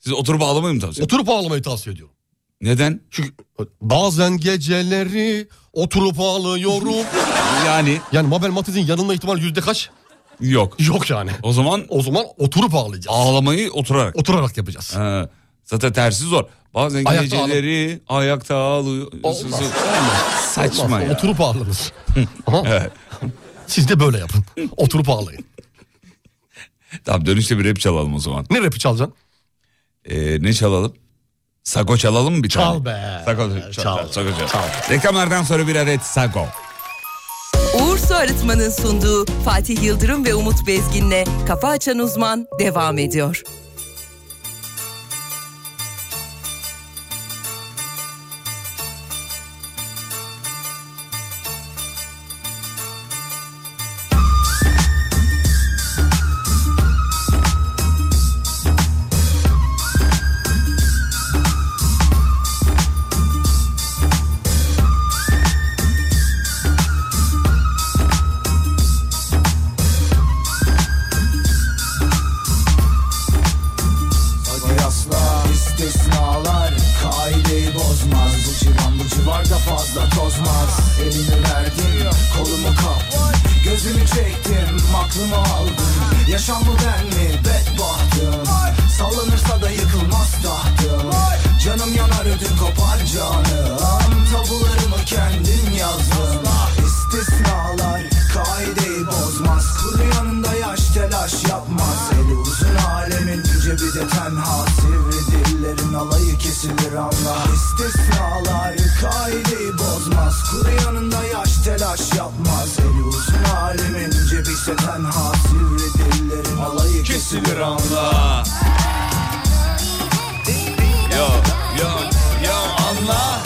Siz oturup ağlamayı mı tavsiye Oturup ağlamayı tavsiye ediyorum. Neden? Çünkü bazen geceleri oturup ağlıyorum. Yani yani Mabel Matiz'in yanılma ihtimali yüzde kaç? yok. Yok yani. O zaman O zaman oturup ağlayacağız. ağlamayı oturarak. Oturarak yapacağız. Ha, zaten tersi zor. Bazen Ayakta geceleri ayakta ağlıyor. Olmaz, Saçma Olmaz, ya. Oturup ağlarız. Aha. Siz de böyle yapın. Oturup ağlayın. Tamam dönüşte bir rap çalalım o zaman. Ne rapi çalacaksın? Ee, ne çalalım? Sago çalalım mı bir tane? Çal be. Sago çal. Çal, çal, Sago çal. çal. Reklamlardan sonra bir adet Sago. Uğur Su Arıtma'nın sunduğu Fatih Yıldırım ve Umut Bezgin'le Kafa Açan Uzman devam ediyor. Kıyasla istisnalar Kaideyi bozmaz Bu civan bu civarda fazla tozmaz Elimi verdim kolumu kaptım Gözümü çektim aklımı aldım Yaşam mı ben mi bedbahtım Sallanırsa da yıkılmaz tahtım Canım yanar ödüm kopar canım Tabularımı kendim yazdım İstisnalar kaideyi bozmaz Kuru yanında yaş telaş yapmaz Eli uzun alemin cebi de tenha Sivri dillerin alayı kesilir anla İstisnalar kaideyi bozmaz Kuru yanında yaş telaş yapmaz Eli uzun alemin cebi ise tenha Sivri dillerin alayı kesilir anla Yo, yo, yo anla.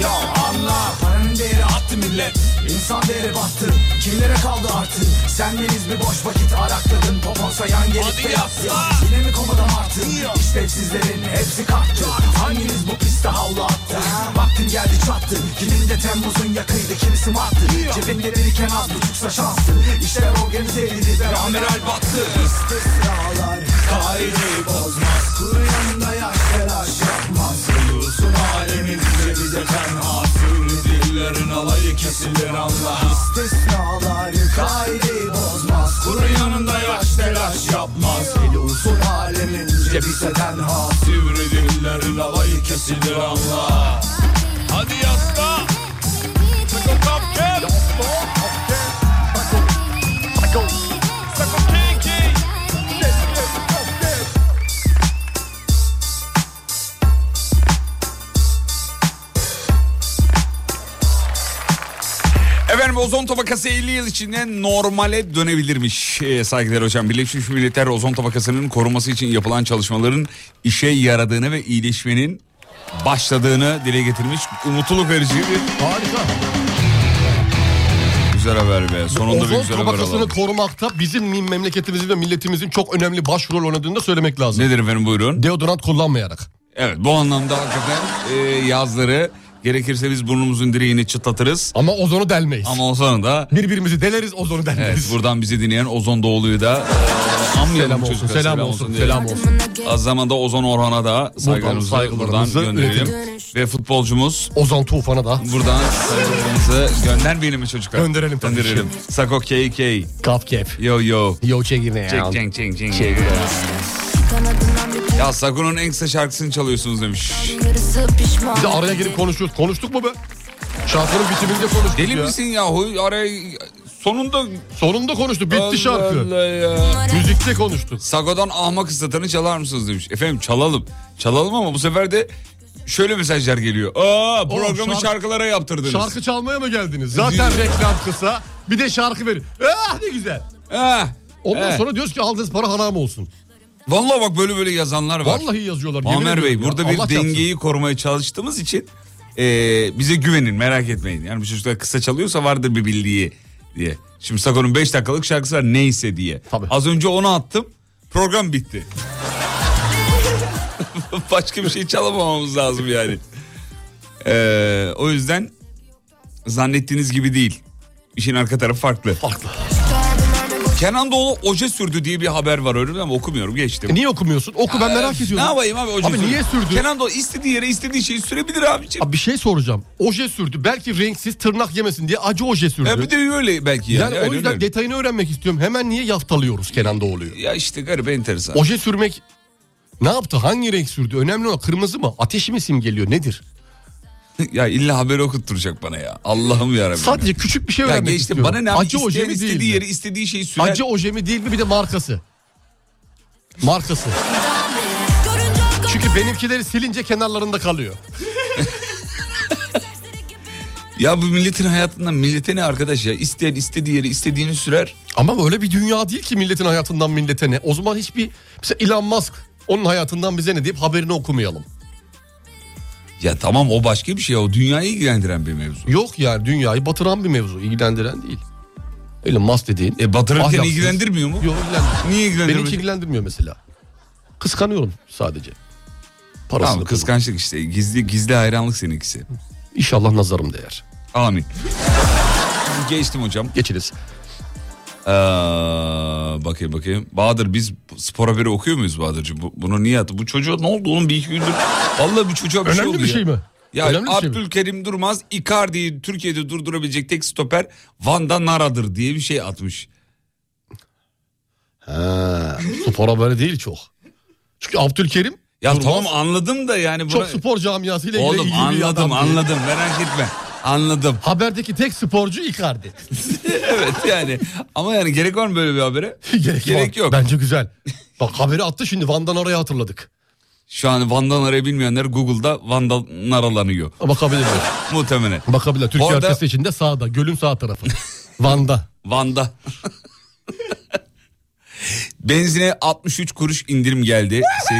Ya anla Paranın değeri attı millet İnsan değeri battı Kimlere kaldı artık Sendeniz bir boş vakit arakladın Poponsa yan gelip de yattın Yine mi komadan artık İşlevsizlerin hepsi kalktı Hanginiz bu piste havlu attı Vaktin geldi çattı Kimin de Temmuz'un yakıydı Kimisi marttı Cebinde biriken az buçuksa şanstı İşler organizeliydi ve amiral battı İstisnalar Kaideyi bozmaz Kuru yanında yaş telaş yapmaz Olursun alemin cebi de tenha Sürü dillerin alayı kesilir anla İstisnalar kaideyi bozmaz Kuru yanında yaş telaş yapmaz Eli usul alemin cebi ise tenha Sivri dillerin alayı kesilir anla Hadi yasla Efendim ozon tabakası 50 yıl içinde normale dönebilirmiş. Ee, saygılar hocam. Birleşmiş Milletler ozon tabakasının korunması için yapılan çalışmaların işe yaradığını ve iyileşmenin başladığını dile getirmiş. Umutluluk verici bir Harika. güzel haber be. Sonunda bir Ozon güzel haber tabakasını alalım. korumakta bizim memleketimizin ve milletimizin çok önemli başrol oynadığını da söylemek lazım. Nedir efendim buyurun. Deodorant kullanmayarak. Evet bu anlamda hakikaten e, yazları gerekirse biz burnumuzun direğini çıtlatırız. Ama ozonu delmeyiz. Ama o sonra da Birbirimizi deleriz ozonu delmeyiz. evet, buradan bizi dinleyen Ozon Doğulu'yu da e, anlayalım Selam olsun, çocuklar, selam olsun, diyelim. selam olsun. Az zamanda Ozon Orhan'a da saygılarımızı buradan, saygılarımızı gönderelim. iletelim. Ve futbolcumuz Ozan Tufan'a da buradan saygılarımızı göndermeyelim mi çocuklar? Gönderelim tabii Gönderelim. Sako KK. kafkep. Yo yo. Yo çekimi ya. Çek çek çek çek. Ya Sako'nun en kısa şarkısını çalıyorsunuz demiş. Bir de araya girip konuşuyoruz. Konuştuk mu be? Şarkının bitiminde konuştuk Deli ya. misin yahu? Araya sonunda Sonunda konuştuk. Bitti Allah şarkı. Allah ya. Müzikte konuştuk. Sago'dan ahmak ıslatanı çalar mısınız demiş. Efendim çalalım. Çalalım ama bu sefer de şöyle mesajlar geliyor. Aa programı şarkı- şarkılara yaptırdınız. Şarkı çalmaya mı geldiniz? Zaten reklam kısa. Bir de şarkı verin. Ah ne güzel. Eh, Ondan eh. sonra diyoruz ki aldığınız para haram olsun. Vallahi bak böyle böyle yazanlar var. Vallahi yazıyorlar. yemin Amer ediyorum Bey ya. burada bir Allah çarpsın. dengeyi korumaya çalıştığımız için e, bize güvenin merak etmeyin. Yani bu çocuklar kısa çalıyorsa vardır bir bildiği diye. Şimdi Sako'nun 5 dakikalık şarkısı var neyse diye. Tabii. Az önce onu attım program bitti. Başka bir şey çalamamamız lazım yani. Ee, o yüzden zannettiğiniz gibi değil. İşin arka tarafı farklı. Farklı. Kenan Doğulu oje sürdü diye bir haber var öyle mi? ama okumuyorum geçtim. Niye okumuyorsun? Oku ben merak Ee, Ne ediyorum. yapayım abi oje Abi sürdü. niye sürdü? Kenan Doğulu istediği yere istediği şeyi sürebilir abiciğim. Abi bir şey soracağım. Oje sürdü. Belki renksiz tırnak yemesin diye acı oje sürdü. Ya E, bir de öyle belki yani. yani, o Aynen yüzden öyle. detayını öğrenmek istiyorum. Hemen niye yaftalıyoruz Kenan Doğulu'yu? Ya işte garip enteresan. Oje sürmek ne yaptı? Hangi renk sürdü? Önemli olan kırmızı mı? Ateşi mi simgeliyor? Nedir? ya illa haberi okutturacak bana ya. Allah'ım yarabbim. Sadece küçük bir şey ya öğrenmek geçtim istiyorum. bana ne abi? Acı İsteyen oje mi değil istediği mi? yere istediği şeyi sürer. Acı oje mi değil mi? Bir de markası. Markası. Çünkü benimkileri silince kenarlarında kalıyor. Ya bu milletin hayatından millete ne arkadaş ya? İsteyen istediği yere istediğini sürer. Ama öyle bir dünya değil ki milletin hayatından millete ne. O zaman hiçbir... Mesela Elon Musk onun hayatından bize ne deyip haberini okumayalım. Ya tamam o başka bir şey o dünyayı ilgilendiren bir mevzu. Yok yani dünyayı batıran bir mevzu. ilgilendiren değil. Elon Musk dediğin... E batırırken ahlaksız. ilgilendirmiyor mu? Ah, Yok ilgilendirmiyor. Niye Beni ilgilendirmiyor? hiç ilgilendirmiyor mesela. Kıskanıyorum sadece. Parasını. Tamam kıskançlık işte gizli gizli hayranlık seninkisi. İnşallah nazarım değer. Amin. Geçtim hocam. Geçiniz. Ee, bakayım bakayım. Bahadır biz spor haberi okuyor muyuz Bahadır'cığım? Bu, bunu niye attı? Bu çocuğa ne oldu oğlum bir iki gündür? Vallahi bir çocuğa bir şey oldu Önemli bir ya. şey mi? Ya Önemli bir şey mi? Abdülkerim Durmaz Icardi'yi Türkiye'de durdurabilecek tek stoper Van'da Nara'dır diye bir şey atmış. Ha, spor haberi değil çok. Çünkü Abdülkerim Ya Durmaz, tamam anladım da yani buna... çok spor camiasıyla ilgili Oğlum ilgili bir adam anladım değil. anladım merak etme. Anladım. Haberdeki tek sporcu Icardi. evet yani ama yani gerek var mı böyle bir habere? Gerek, Gerek var. yok. Bence güzel. Bak haberi attı şimdi Van'dan oraya hatırladık. Şu an Van'dan Nara'yı bilmeyenler Google'da Van'dan Naralanıyor Bakabilir. muhtemelen. Bakabilir. Türkiye Bu arada- haritası içinde sağda. Gölün sağ tarafı. Van'da. Van'da. Benzine 63 kuruş indirim geldi. Sev-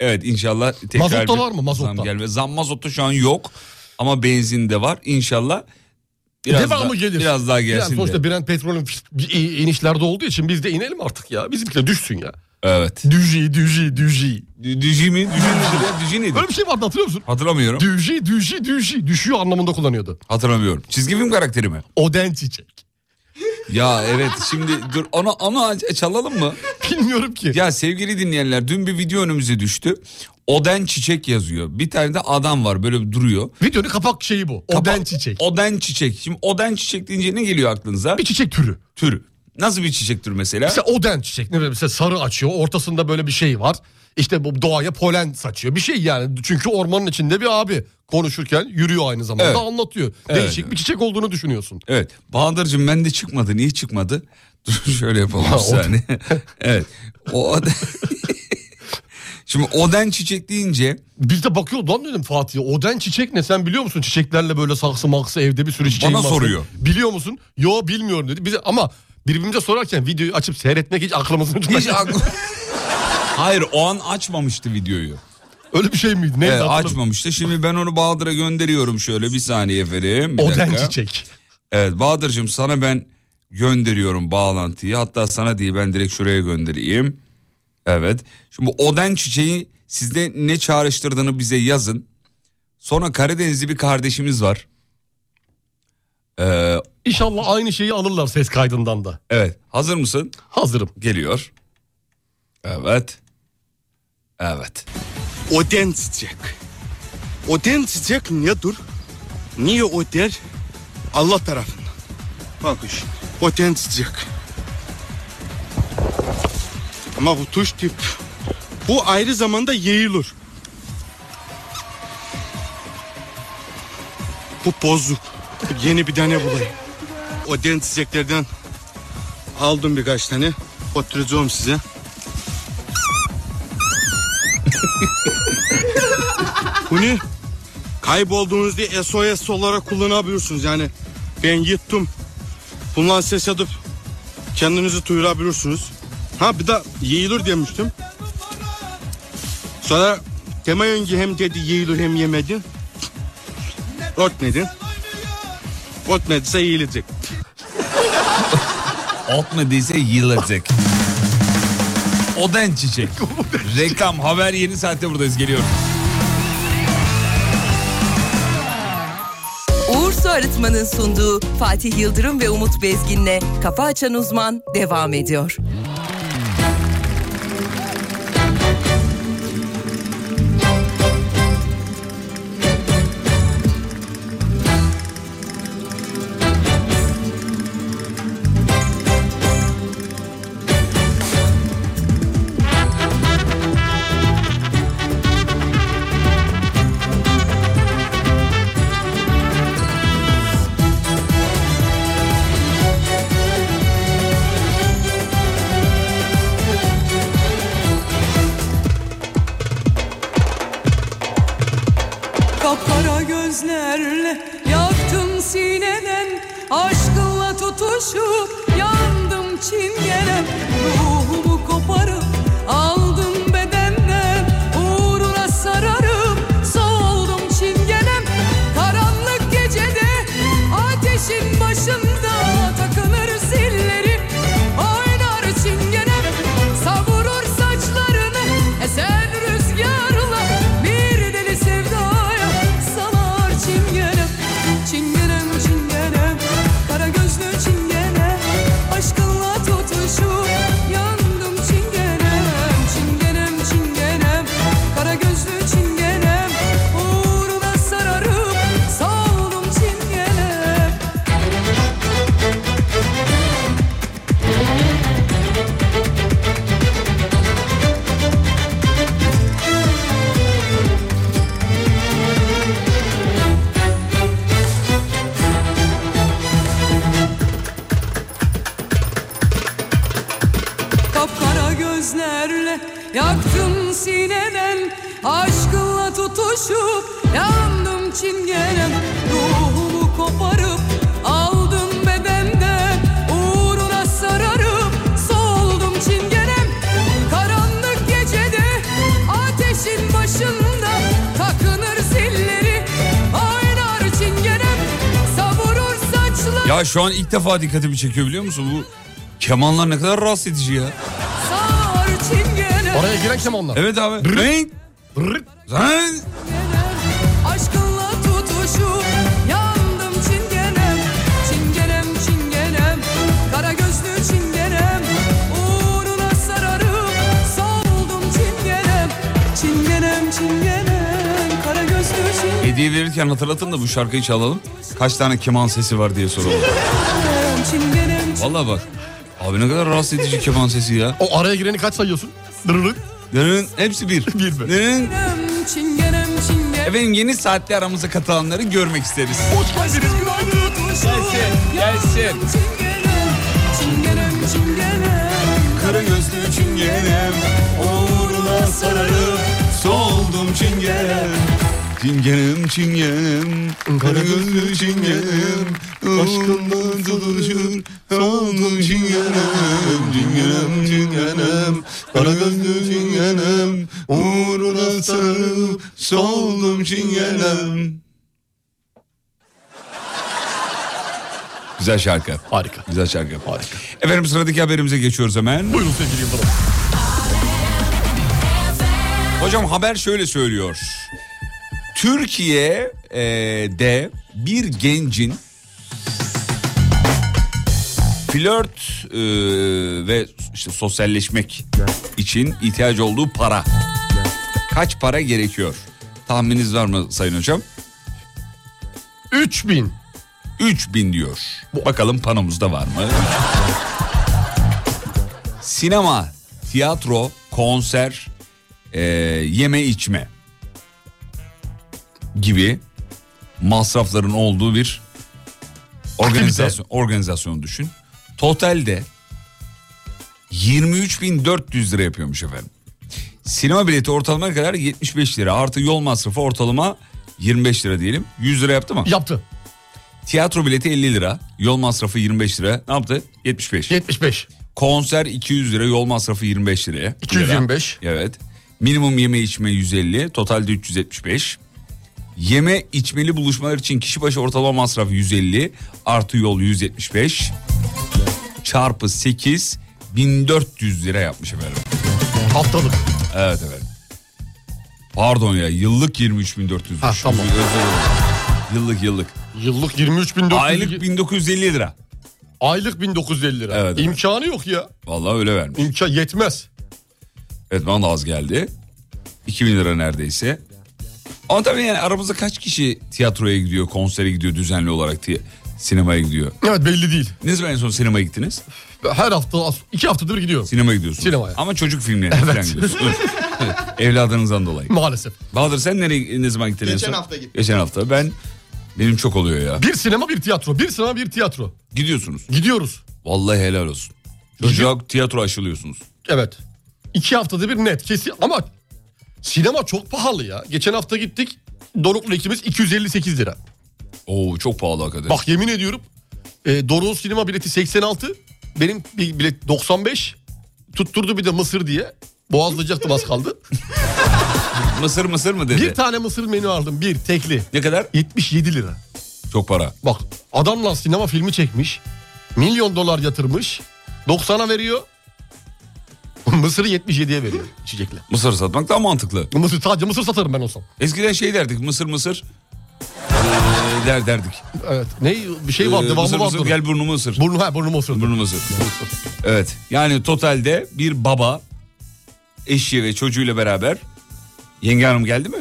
Evet inşallah tekrar Mazotta bir var mı? Mazotta. Zam, gelme. zam mazotta şu an yok ama benzinde var inşallah. Biraz Devamı daha, gelir. Biraz daha Yani gelsin de. sonuçta Brent petrolün bir inişlerde olduğu için biz de inelim artık ya. Bizimki de düşsün ya. Evet. Düji, düji, düji. Dü- Düji mi? Düji nedir ya? Düji nedir? Öyle bir şey vardı hatırlıyor musun? Hatırlamıyorum. Düji, düji, düji. Düşüyor anlamında kullanıyordu. Hatırlamıyorum. Çizgi film karakteri mi? Oden çiçek. Ya evet şimdi dur onu, onu aç- çalalım mı? Bilmiyorum ki. Ya sevgili dinleyenler dün bir video önümüze düştü. Oden çiçek yazıyor. Bir tane de adam var böyle duruyor. Videonun kapak şeyi bu. Oden Kapa- çiçek. Oden çiçek. Şimdi oden çiçek deyince ne geliyor aklınıza? Bir Bir çiçek türü. tür. Nasıl bir çiçek türü mesela? Mesela oden çiçek ne bileyim mesela sarı açıyor. Ortasında böyle bir şey var. İşte bu doğaya polen saçıyor. Bir şey yani. Çünkü ormanın içinde bir abi konuşurken yürüyor aynı zamanda Evet. anlatıyor. Evet, Değişik evet. bir çiçek olduğunu düşünüyorsun. Evet. Bahadır'cığım bende çıkmadı. Niye çıkmadı? Dur şöyle yapalım bir Ha, oden. saniye. evet. O oden... Şimdi oden çiçek deyince Biz de bakıyor lan dedim Fatih. Oden çiçek ne sen biliyor musun? Çiçeklerle böyle saksı maksı evde bir sürü çiçeğim Bana var. soruyor. Biliyor musun? Yo bilmiyorum dedi. Bize ama birbirimize sorarken videoyu açıp seyretmek hiç aklımızın hiç ucundan. aklı... Hayır o an açmamıştı videoyu. Öyle bir şey miydi? Neydi? Evet, hatırlamıyorum. açmamıştı. Şimdi ben onu Bahadır'a gönderiyorum şöyle bir saniye efendim. Bir Oden dakika. çiçek. Evet Bahadır'cığım sana ben gönderiyorum bağlantıyı. Hatta sana değil ben direkt şuraya göndereyim. Evet. Şimdi bu Oden çiçeği sizde ne çağrıştırdığını bize yazın. Sonra Karadenizli bir kardeşimiz var. Ee, İnşallah aynı şeyi alırlar ses kaydından da. evet. Hazır mısın? Hazırım. Geliyor. Evet. Evet. Oden çiçek. Oden çiçek nedir? Niye öder? Allah tarafından. Bakın şimdi. Oden çiçek. Ama bu tuş tip. Bu ayrı zamanda yayılır. Bu bozuk. Yeni bir tane bulayım. Oden çiçeklerden aldım birkaç tane. Oturacağım size. Bunu kaybolduğunuzda SOS olarak kullanabilirsiniz. Yani ben gittim. Bundan ses edip kendinizi duyurabilirsiniz. Ha bir de yayılır demiştim. Sonra tema önce hem dedi yayılır hem yemedin. Örtmedin. Örtmediyse yiyecek. Atmadıysa yılacak. Oden çiçek. Reklam haber yeni saatte buradayız geliyor. Uğur Su Arıtma'nın sunduğu Fatih Yıldırım ve Umut Bezgin'le Kafa Açan Uzman devam ediyor. Kapkara gözlerle yaktım sineden Aşkınla tutuşup yandım çingene Ruhumu koparıp aldım bedenden Uğruna sararım soldum çingenem Karanlık gecede ateşin başında Takılır zillerim oynar çingenem Savurur saçlarını esen rüzgarla Bir deli sevdaya salar çingenem Çingenem çingenem kara gözlü çingenem Aşkınla tutuşup yandım çingenem Çingenem çingenem kara gözlü çingenem Uğruna sararım savrum çingenem Kapkara gözlerle yaktım sineden Aşkınla tutuşup yandım çingenem Ruhumu koparıp aldım bedenden Uğruna sararım soldum çingenem Karanlık gecede ateşin başında Takınır zilleri Ah! oynar çingenem Savurur saçlar Ya şu an ilk defa dikkatimi çekiyor biliyor musun? Bu kemanlar ne kadar rahatsız edici ya. sar çingenem Oraya girersem onlar. Evet abi. Renk. Rırt. Renk. Aşkınla tutuşup yandım çingenem Çingenem çingenem Kara gözlü çingenem Uğruna sararım soldum çingenem Çingenem çingenem Kara gözlü çingenem Hediye verirken hatırlatın da bu şarkıyı çalalım. Kaç tane keman sesi var diye soralım. Çingenem Vallahi bak. Abi ne kadar rahatsız edici keman sesi ya. O araya gireni kaç sayıyorsun? Rırt. Dönün hepsi bir. Bir mi? Dönün. çingenem Çingenem çingenem Efendim yeni saatte aramıza katılanları görmek isteriz. Hoş geldiniz günaydın. Gelsin gelsin Çingenem çingenem çingenem Kara gözlü çingenem Uğruna sararım Soldum çingenem Çingenem çingenem Kara gözlü çingenem Aşkından tutuşur Soldum çingenem Çingenem çingenem Kara gözlü çingenem Uğruna sararım Soldum çingenem Güzel şarkı. Harika. Güzel şarkı. Harika. Efendim sıradaki haberimize geçiyoruz hemen. Buyurun sevgili Yıldırım. Hocam haber şöyle söylüyor. Türkiye'de de bir gencin flört e, ve işte sosyalleşmek için ihtiyacı olduğu para. Kaç para gerekiyor? Tahmininiz var mı Sayın Hocam? 3000. 3000 diyor. Bakalım panomuzda var mı? Sinema, tiyatro, konser, e, yeme içme gibi masrafların olduğu bir organizasyon organizasyon düşün. Totalde 23.400 lira yapıyormuş efendim. Sinema bileti ortalama kadar 75 lira artı yol masrafı ortalama 25 lira diyelim. 100 lira yaptı mı? Yaptı. Tiyatro bileti 50 lira, yol masrafı 25 lira. Ne yaptı? 75. 75. Konser 200 lira, yol masrafı 25 liraya. 225. Lira. Evet. Minimum yeme içme 150, totalde 375. Yeme içmeli buluşmalar için kişi başı ortalama masraf 150 artı yol 175 çarpı 8 1400 lira yapmış efendim. Haftalık. Evet efendim. Pardon ya yıllık 23400. Ha tamam. Yıllık yıllık. Yıllık 23400. Aylık 1950 lira. Aylık 1950 lira. Evet, evet. İmkanı yok ya. Vallahi öyle vermiş. İmkan yetmez. Evet bana da az geldi. 2000 lira neredeyse. Ama tabii yani aramızda kaç kişi tiyatroya gidiyor, konsere gidiyor düzenli olarak diye sinemaya gidiyor. Evet belli değil. Ne zaman en son sinemaya gittiniz? Her hafta az- iki haftadır gidiyorum. Sinema gidiyorsunuz. Sinemaya. Ama çocuk filmlerine falan gidiyorsunuz. Evet. Evladınızdan dolayı. Maalesef. Bahadır sen nereye, ne zaman gittin? en Geçen son? hafta gittim. Geçen hafta. Ben, benim çok oluyor ya. Bir sinema bir tiyatro. Bir sinema bir tiyatro. Gidiyorsunuz. Gidiyoruz. Vallahi helal olsun. Çocuğa tiyatro aşılıyorsunuz. Evet. İki haftada bir net kesin ama sinema çok pahalı ya. Geçen hafta gittik. Doruk'la ikimiz 258 lira. Oo çok pahalı hakikaten. Bak yemin ediyorum. E, Doruk'un sinema bileti 86. Benim bir bilet 95. Tutturdu bir de mısır diye. Boğazlayacaktım az kaldı. mısır mısır mı dedi? Bir tane mısır menü aldım. Bir tekli. Ne kadar? 77 lira. Çok para. Bak adamla sinema filmi çekmiş. Milyon dolar yatırmış. 90'a veriyor. Mısır'ı 77'ye veriyor içecekle. Mısır satmak daha mantıklı. Mısır sadece mısır satarım ben olsam. Eskiden şey derdik mısır mısır ee, der derdik. Evet. Ne bir şey var Ee, devamı mısır, var. mısır, bunun. gel burnumu ısır. Burnu ha burnumu ısır. Burnumu ısır. Evet yani totalde bir baba eşi ve çocuğuyla beraber yenge hanım geldi mi?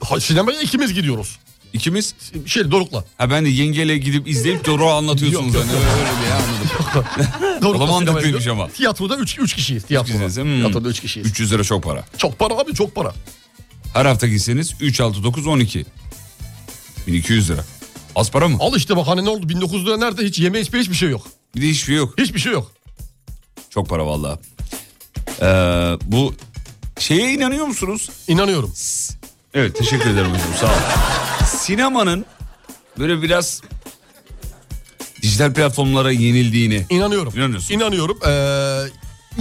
Ha, sinemaya ikimiz gidiyoruz. İkimiz? Şey Doruk'la. Ha ben de yengeyle gidip izleyip Doruk'a anlatıyorsunuz. hani, öyle bir anladım. o da mantıklıymış ama. hmm. Tiyatroda 3 3 kişiyiz tiyatroda. Tiyatroda 3 kişiyiz. 300 lira çok para. Çok para abi çok para. Her hafta gitseniz 3, 6, 9, 12. 1200 lira. Az para mı? Al işte bak hani ne oldu 1900 lira nerede hiç yeme içme hiçbir şey yok. Bir de hiçbir şey yok. Hiçbir şey yok. Çok para vallahi. Ee, bu şeye inanıyor musunuz? İnanıyorum. Evet teşekkür ederim hocam sağ olun. Sinemanın böyle biraz dijital platformlara yenildiğini. İnanıyorum. İnanıyorsun. İnanıyorum. Ee,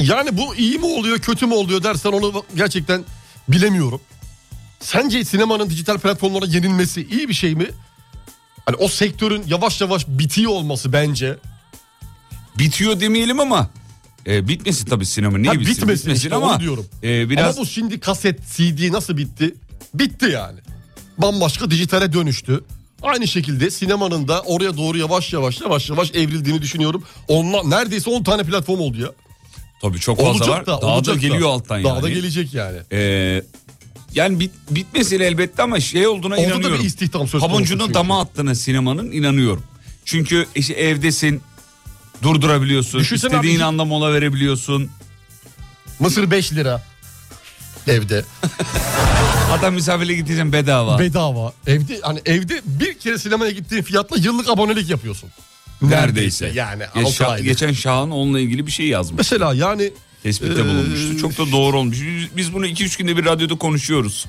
yani bu iyi mi oluyor kötü mü oluyor dersen onu gerçekten bilemiyorum. Sence sinemanın dijital platformlara yenilmesi iyi bir şey mi? Hani o sektörün yavaş yavaş bitiyor olması bence. Bitiyor demeyelim ama e, bitmesin tabii sinema. Niye Ha, bitsin? bitmesin, işte, onu ama diyorum. e, biraz Ama bu şimdi kaset, CD nasıl bitti? Bitti yani. Bambaşka dijitale dönüştü. Aynı şekilde sinemanın da oraya doğru yavaş yavaş yavaş yavaş evrildiğini düşünüyorum. Onlar neredeyse 10 tane platform oldu ya. tabii çok fazla Olacak var. da, daha da olacak da. geliyor alttan Daha yani. da gelecek yani. E, yani bit, bitmesin elbette ama şey olduğuna Orada da inanıyorum. bir istihdam söz konusu Pabuncunun çünkü. dama attığına sinemanın inanıyorum. Çünkü işte evdesin durdurabiliyorsun. Düşünsene istediğin abi- anda mola verebiliyorsun. Mısır 5 lira. Evde. Adam misafirle gideceğim bedava. Bedava. Evde hani evde bir kere sinemaya gittiğin fiyatla yıllık abonelik yapıyorsun. Neredeyse. Yani Ya altı Şa- aylık. geçen Şahan onunla ilgili bir şey yazmış. Mesela yani Tespitte Ee, bulunmuştu. Çok da doğru olmuş. Biz- Biz bunu 2-3 günde bir radyoda konuşuyoruz.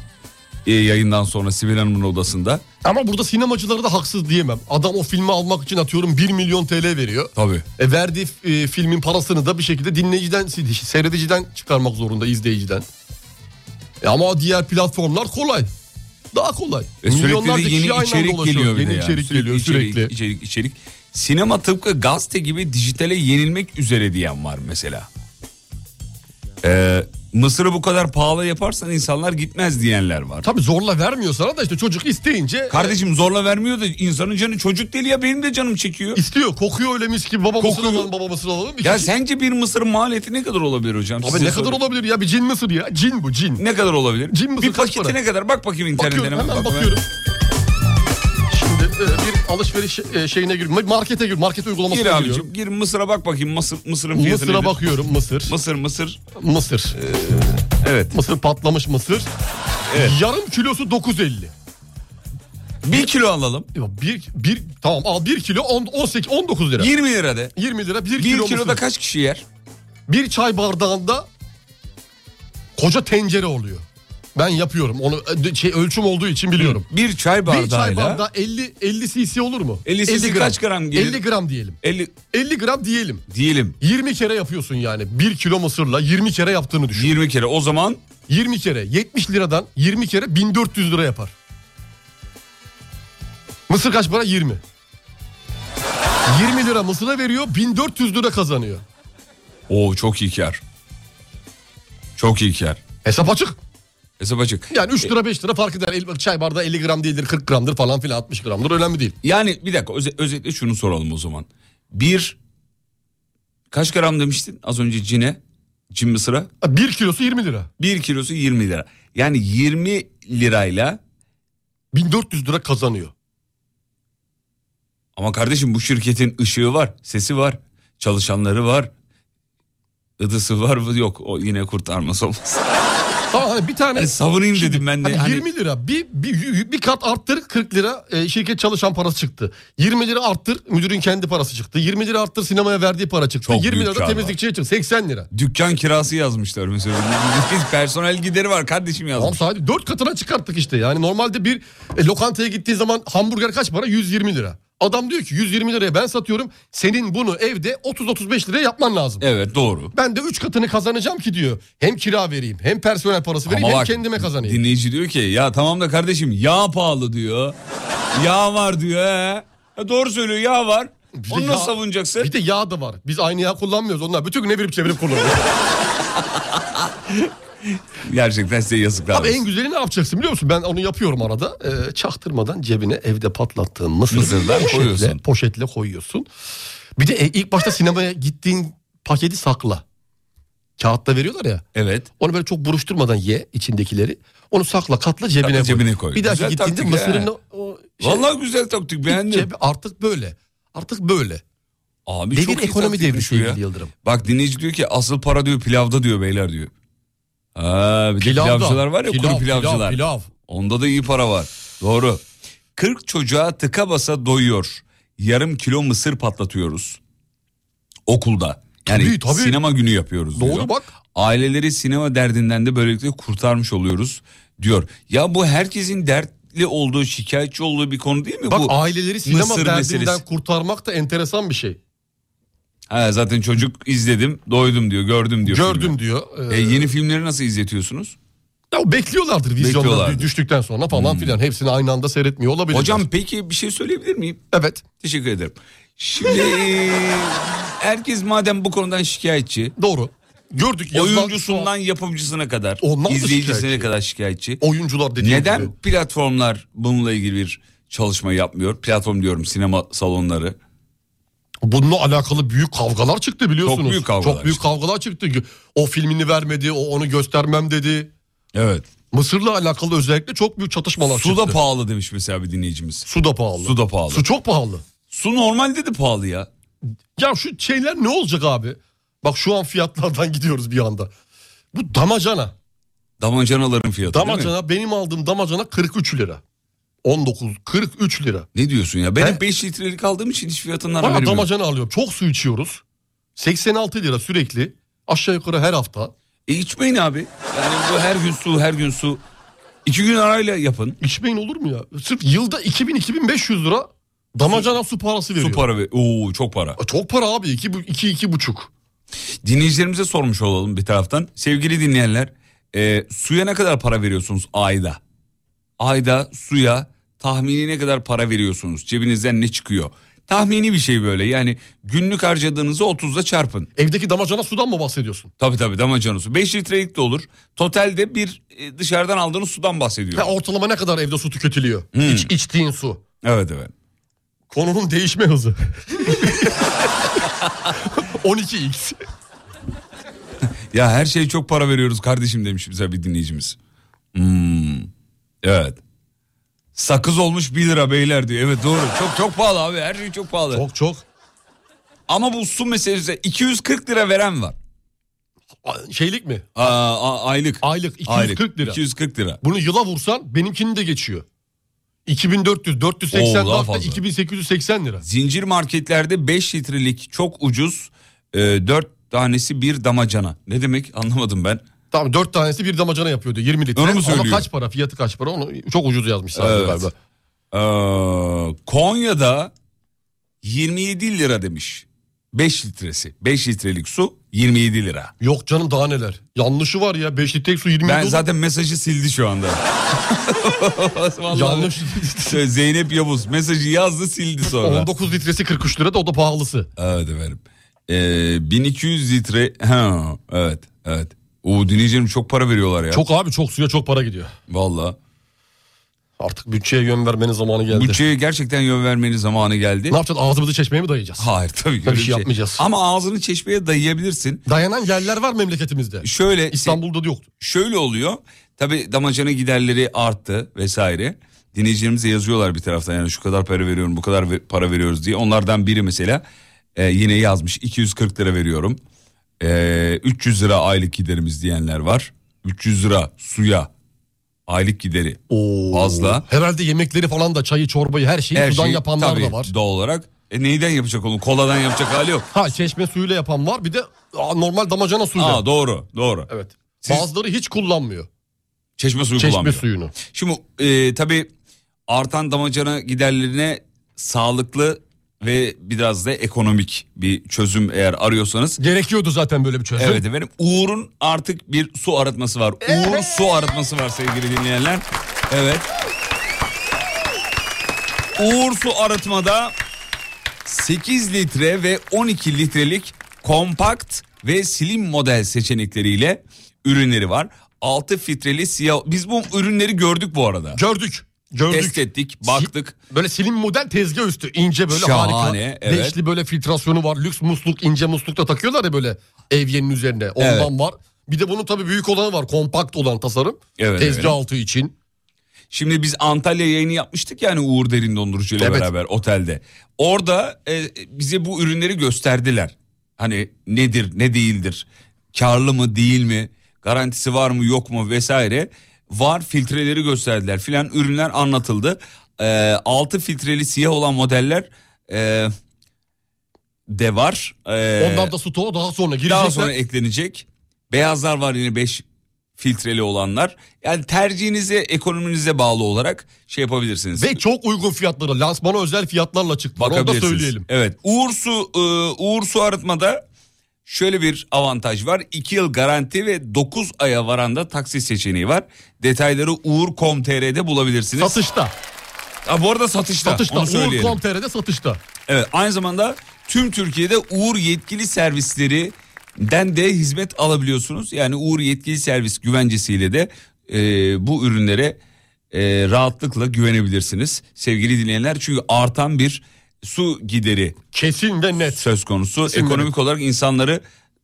Ee, yayından sonra Sibel Hanım'ın odasında. Ama burada sinemacılara da haksız diyemem. Adam o filmi almak için atıyorum 1 milyon TL veriyor. Tabii. E verdiği e, filmin parasını da bir şekilde dinleyiciden, seyrediciden çıkarmak zorunda, izleyiciden. E ama diğer platformlar kolay. Daha kolay. E, sürekli de Milyonlarca yeni kişi aynı anda içerik ulaşıyor. geliyor bir Yeni de yani. içerik geliyor sürekli. Içerik, içerik, içerik. Sinema tıpkı gazete gibi dijitale yenilmek üzere diyen var mesela. Ee, Mısır'ı bu kadar pahalı yaparsan insanlar gitmez diyenler var. Tabii zorla vermiyor sana da işte çocuk isteyince Kardeşim zorla vermiyor da insanın canı çocuk değil ya benim de canım çekiyor. istiyor. Kokuyor öyle mis gibi babamızın Kokuyor. alalım babamızın alalım. İki Ya kişi- sence bir mısır maliyeti ne kadar olabilir hocam? Abi Size ne kadar sorayım. olabilir ya bir cin mısır ya cin bu cin. Ne kadar olabilir? Cin mısır bir kaç paketi para? ne kadar? Bak bakayım internetten. Bakıyorum hemen bakıyorum. Şimdi e, bir alışveriş e, şeyine gir, markete gir, market uygulamasına Gir giriyorum. abicim. Gir mısıra bak bakayım. Mısır, mısırın fiyatı Mısır'a nedir? bakıyorum mısır. Mısır mısır. Mısır. Evet. Mısır patlamış mısır. Evet. Yarım kilosu 9.50. Bir kilo alalım. Ya Bir, bir, tamam al 1 kilo on- 18, 19 lira. 20 lira de. 20 lira 1 Bir kilo kiloda mısır. kaç kişi yer? Bir çay bardağında koca tencere oluyor. Ben yapıyorum. Onu e, şey ölçüm olduğu için biliyorum. Bir çay bardağıyla. Bir çay bardağı 50 50 cc olur mu? 50 cc kaç gram gelir? 50 gram diyelim. 50 50 gram diyelim. diyelim. 20 kere yapıyorsun yani. 1 kilo mısırla 20 kere yaptığını düşün. 20 kere o zaman 20 kere 70 liradan 20 kere 1400 lira yapar. Mısır kaç para? 20. 20 lira mısıra veriyor 1400 lira kazanıyor. o çok iyi kar. Çok iyi kar. Hesap açık. Hesap açık. Yani 3 lira 5 lira fark eder. El- Çay bardağı 50 gram değildir 40 gramdır falan filan 60 gramdır önemli değil. Yani bir dakika öze- özetle şunu soralım o zaman. Bir kaç gram demiştin az önce cine? Cin mısıra? 1 kilosu 20 lira. Bir kilosu 20 lira. Yani 20 lirayla 1400 lira kazanıyor. ama kardeşim bu şirketin ışığı var, sesi var, çalışanları var. Idısı var mı? Yok o yine kurtarmaz olmaz. Tamam hani bir tane Yani savunayım dedim ben de. Hani Hani- 20 lira bir, bir, bir kat arttır 40 lira e, şirket çalışan parası çıktı. 20 lira arttır müdürün kendi parası çıktı. 20 lira arttır sinemaya verdiği para çıktı. Çok 20 büyük lira kar da var. temizlikçiye çıktı 80 lira. Dükkan kirası yazmışlar mesela. Personel gideri var kardeşim Tamam yazmış. sahibi 4 katına çıkarttık işte. Yani normalde bir e, lokantaya gittiğin zaman hamburger kaç para? 120 lira. Adam diyor ki 120 liraya ben satıyorum. Senin bunu evde 30-35 liraya yapman lazım. Evet doğru. Ben de 3 katını kazanacağım ki diyor. Hem kira vereyim hem personel parası vereyim Ama hem bak, kendime kazanayım. Dinleyici diyor ki ya tamam da kardeşim yağ pahalı diyor. yağ var diyor. He. E, doğru söylüyor yağ var. Bir de Onu yağ- nasıl savunacaksın? Bir de yağ da var. Biz aynı yağ kullanmıyoruz. Onlar bütün gün evirip çevirip kullanıyor. Gerçekten size yazıklar. Abi en olsun. güzeli ne yapacaksın biliyor musun? Ben onu yapıyorum arada. Ee, çaktırmadan cebine evde patlattığın mısır Mısırdan poşetle, koyuyorsun. poşetle koyuyorsun. Bir de e, ilk başta sinemaya gittiğin paketi sakla. Kağıtta veriyorlar ya. Evet. Onu böyle çok buruşturmadan ye içindekileri. Onu sakla katla cebine, Katla koy. cebine koy. Bir dahaki Güzel gittiğinde taktik he. mısırın o- o şey- Vallahi güzel taktik beğendim. cebi artık böyle. Artık böyle. Abi Devir çok iyi ekonomi taktikmiş devri bu ya. sevgili Yıldırım. Bak dinleyici diyor ki asıl para diyor pilavda diyor beyler diyor. Aa, bir de Pilav da- pilavcılar var ya kuru pilavcılar. Pilav, pilav. Onda da iyi para var. Doğru. 40 çocuğa tıka basa doyuyor. Yarım kilo mısır patlatıyoruz. Okulda. Yani Tabii, tabii. sinema günü yapıyoruz Doğru diyor. bak. Aileleri sinema derdinden de böylelikle kurtarmış oluyoruz diyor. Ya bu herkesin dertli olduğu, şikayetçi olduğu bir konu değil mi? Bak bu aileleri sinema Mısır derdinden meselesi. kurtarmak da enteresan bir şey. Ha, zaten çocuk izledim, doydum diyor, gördüm diyor. Gördüm filmi. diyor. Ee, E, yeni filmleri nasıl izletiyorsunuz? Ya bekliyorlardır vizyonda Bekliyorlardır. Hmm. düştükten sonra falan filan. Hepsini aynı anda seyretmiyor olabilir. Hocam peki bir şey söyleyebilir miyim? evet Teşekkür ederim. Şimdi herkes madem bu konudan şikayetçi, doğru. Gördük yazılan- oyuncusundan yapımcısına kadar, Ondan da izleyicisine şikayetçi. kadar şikayetçi. oyuncular dediğim Neden gibi. platformlar bununla ilgili bir çalışma yapmıyor? Platform diyorum sinema salonları. Bununla alakalı büyük kavgalar çıktı biliyorsunuz. Çok büyük kavgalar Çok büyük çıktı. kavgalar çıktı. O filmini vermedi, o onu göstermem dedi. Evet. Mısır'la alakalı özellikle çok büyük çatışmalar Su çıktı. da pahalı demiş mesela bir dinleyicimiz. Su da pahalı. Su da pahalı. Su çok pahalı. Su normalde de pahalı ya. Ya şu şeyler ne olacak abi? Bak şu an fiyatlardan gidiyoruz bir anda. Bu damacana. Damacanaların fiyatı değil mi? Damacana benim aldığım damacana 43 lira. 19 43 lira. Ne diyorsun ya? Ben He? hep 5 litrelik aldığım için hiç fiyatından Bana haberim yok. damacana alıyorum. Çok su içiyoruz. 86 lira sürekli. Aşağı yukarı her hafta. E içmeyin abi. Yani bu her gün su, her gün su. İki gün arayla yapın. İçmeyin olur mu ya? Sırf yılda 2000-2500 lira damacana su parası veriyor. Su para ve Oo çok para. Aa, Çok para abi. 2 iki, iki buçuk. Dinleyicilerimize sormuş olalım bir taraftan. Sevgili dinleyenler, e, suya ne kadar para veriyorsunuz ayda? Ayda suya tahmini ne kadar para veriyorsunuz? Cebinizden ne çıkıyor? Tahmini bir şey böyle yani günlük harcadığınızı 30'da çarpın. Evdeki damacana sudan mı bahsediyorsun? Tabii tabii damacana su. 5 litrelik de olur. Totalde bir e, dışarıdan aldığınız sudan bahsediyor. Ha, ortalama ne kadar evde su tüketiliyor? Hmm. İç, içtiğin su. Evet evet. Konunun değişme hızı. 12x. Ya her şeye çok para veriyoruz kardeşim demiş bize bir dinleyicimiz. Hmm, Evet. Sakız olmuş 1 lira beyler diyor. Evet doğru. Çok çok pahalı abi. Her şey çok pahalı. Çok çok. Ama bu su meselesi 240 lira veren var. A- Şeylik mi? Aa, a- aylık. Aylık 240 Aylık. lira. 240 lira. Bunu yıla vursan benimkini de geçiyor. 2400, 480 Oo, daha hatta fazla. 2880 lira. Zincir marketlerde 5 litrelik çok ucuz 4 tanesi bir damacana. Ne demek anlamadım ben. Tamam 4 tanesi bir damacana yapıyordu 20 litre. Onu mu Ama söylüyor? kaç para fiyatı kaç para onu çok ucuz yazmış sadece Evet. galiba. Ee, Konya'da 27 lira demiş. 5 litresi. 5 litrelik su 27 lira. Yok canım daha neler. Yanlışı var ya 5 litrelik su 20 Ben olur. zaten mesajı sildi şu anda. Vallahi. Yanlış. Zeynep Yavuz mesajı yazdı sildi sonra. 19 litresi 43 lira da o da pahalısı. Evet efendim. Ee, 1200 litre. Ha, evet evet. O dinleyicilerim çok para veriyorlar ya. Çok abi çok suya çok para gidiyor. Valla. Artık bütçeye yön vermenin zamanı geldi. Bütçeye gerçekten yön vermenin zamanı geldi. Ne yapacağız ağzımızı çeşmeye mi dayayacağız? Hayır tabii ki. Tabii öyle şey yapmayacağız. Ama ağzını çeşmeye dayayabilirsin. Dayanan yerler var memleketimizde. Şöyle İstanbul'da da yoktu. şöyle oluyor. Tabi damacana giderleri arttı vesaire. Dinleyicilerimize yazıyorlar bir taraftan yani şu kadar para veriyorum bu kadar ve- para veriyoruz diye. Onlardan biri mesela e, yine yazmış 240 lira veriyorum. E, 300 lira aylık giderimiz diyenler var. 300 lira suya aylık gideri Oo. fazla. Herhalde yemekleri falan da çayı çorbayı her şeyi Her sudan şey yapanlar tabii da var. Doğal olarak. E, neyden yapacak onu? Koladan yapacak hali yok. Ha çeşme suyuyla yapan var bir de aa, normal damacana suyuyla. Aa, doğru doğru. evet. Siz- Bazıları hiç kullanmıyor Çeşme suyu çeşme kullanmıyor. suyunu. Şimdi e, tabii artan damacana giderlerine sağlıklı ve biraz da ekonomik bir çözüm eğer arıyorsanız. Gerekiyordu zaten böyle bir çözüm. Evet efendim Uğur'un artık bir su arıtması var. Uğur su arıtması var sevgili dinleyenler. Evet. Uğur su arıtmada 8 litre ve 12 litrelik kompakt ve slim model seçenekleriyle ürünleri var. 6 filtreli siyah. Biz bu ürünleri gördük bu arada. Gördük. Gördük. Test ettik, baktık. Böyle slim model tezgah üstü ince böyle Şahane, harika. evet. Beşli böyle filtrasyonu var. Lüks musluk ince musluk da takıyorlar ya böyle evyenin üzerine. Ondan Evet. var. Bir de bunun tabii büyük olanı var. Kompakt olan tasarım. Evet, tezgah evet. altı için. Şimdi biz Antalya yayını yapmıştık yani Uğur Derin Dondurucu ile Evet. beraber otelde. Orada e, bize bu ürünleri gösterdiler. Hani nedir, ne değildir, karlı mı, değil mi, garantisi var mı, yok mu vesaire. Var filtreleri gösterdiler filan ürünler anlatıldı. E, altı filtreli siyah olan modeller e, de var. E, Ondan da stoğa daha sonra girecekler. daha sonra eklenecek. Beyazlar var yine 5 filtreli olanlar. Yani tercihinize, ekonominize bağlı olarak şey yapabilirsiniz. Ve çok uygun fiyatlara, lansmana özel fiyatlarla çıktı. Onu da Bakabilirsiniz. söyleyelim. Evet. Uğur Su, e, Uğur Su arıtmada şöyle bir avantaj var. 2 yıl garanti ve 9 aya varanda taksi seçeneği var. Detayları uğur.com.tr'de bulabilirsiniz. Satışta. Ha, bu arada satışta. Satışta. Onu söyleyelim. Uğur.com.tr'de satışta. Evet aynı zamanda tüm Türkiye'de Uğur yetkili servislerinden de hizmet alabiliyorsunuz. Yani Uğur yetkili servis güvencesiyle de e, bu ürünlere e, rahatlıkla güvenebilirsiniz sevgili dinleyenler. Çünkü artan bir su gideri Kesin ve net. söz konusu. Kesinlikle. Ekonomik olarak insanları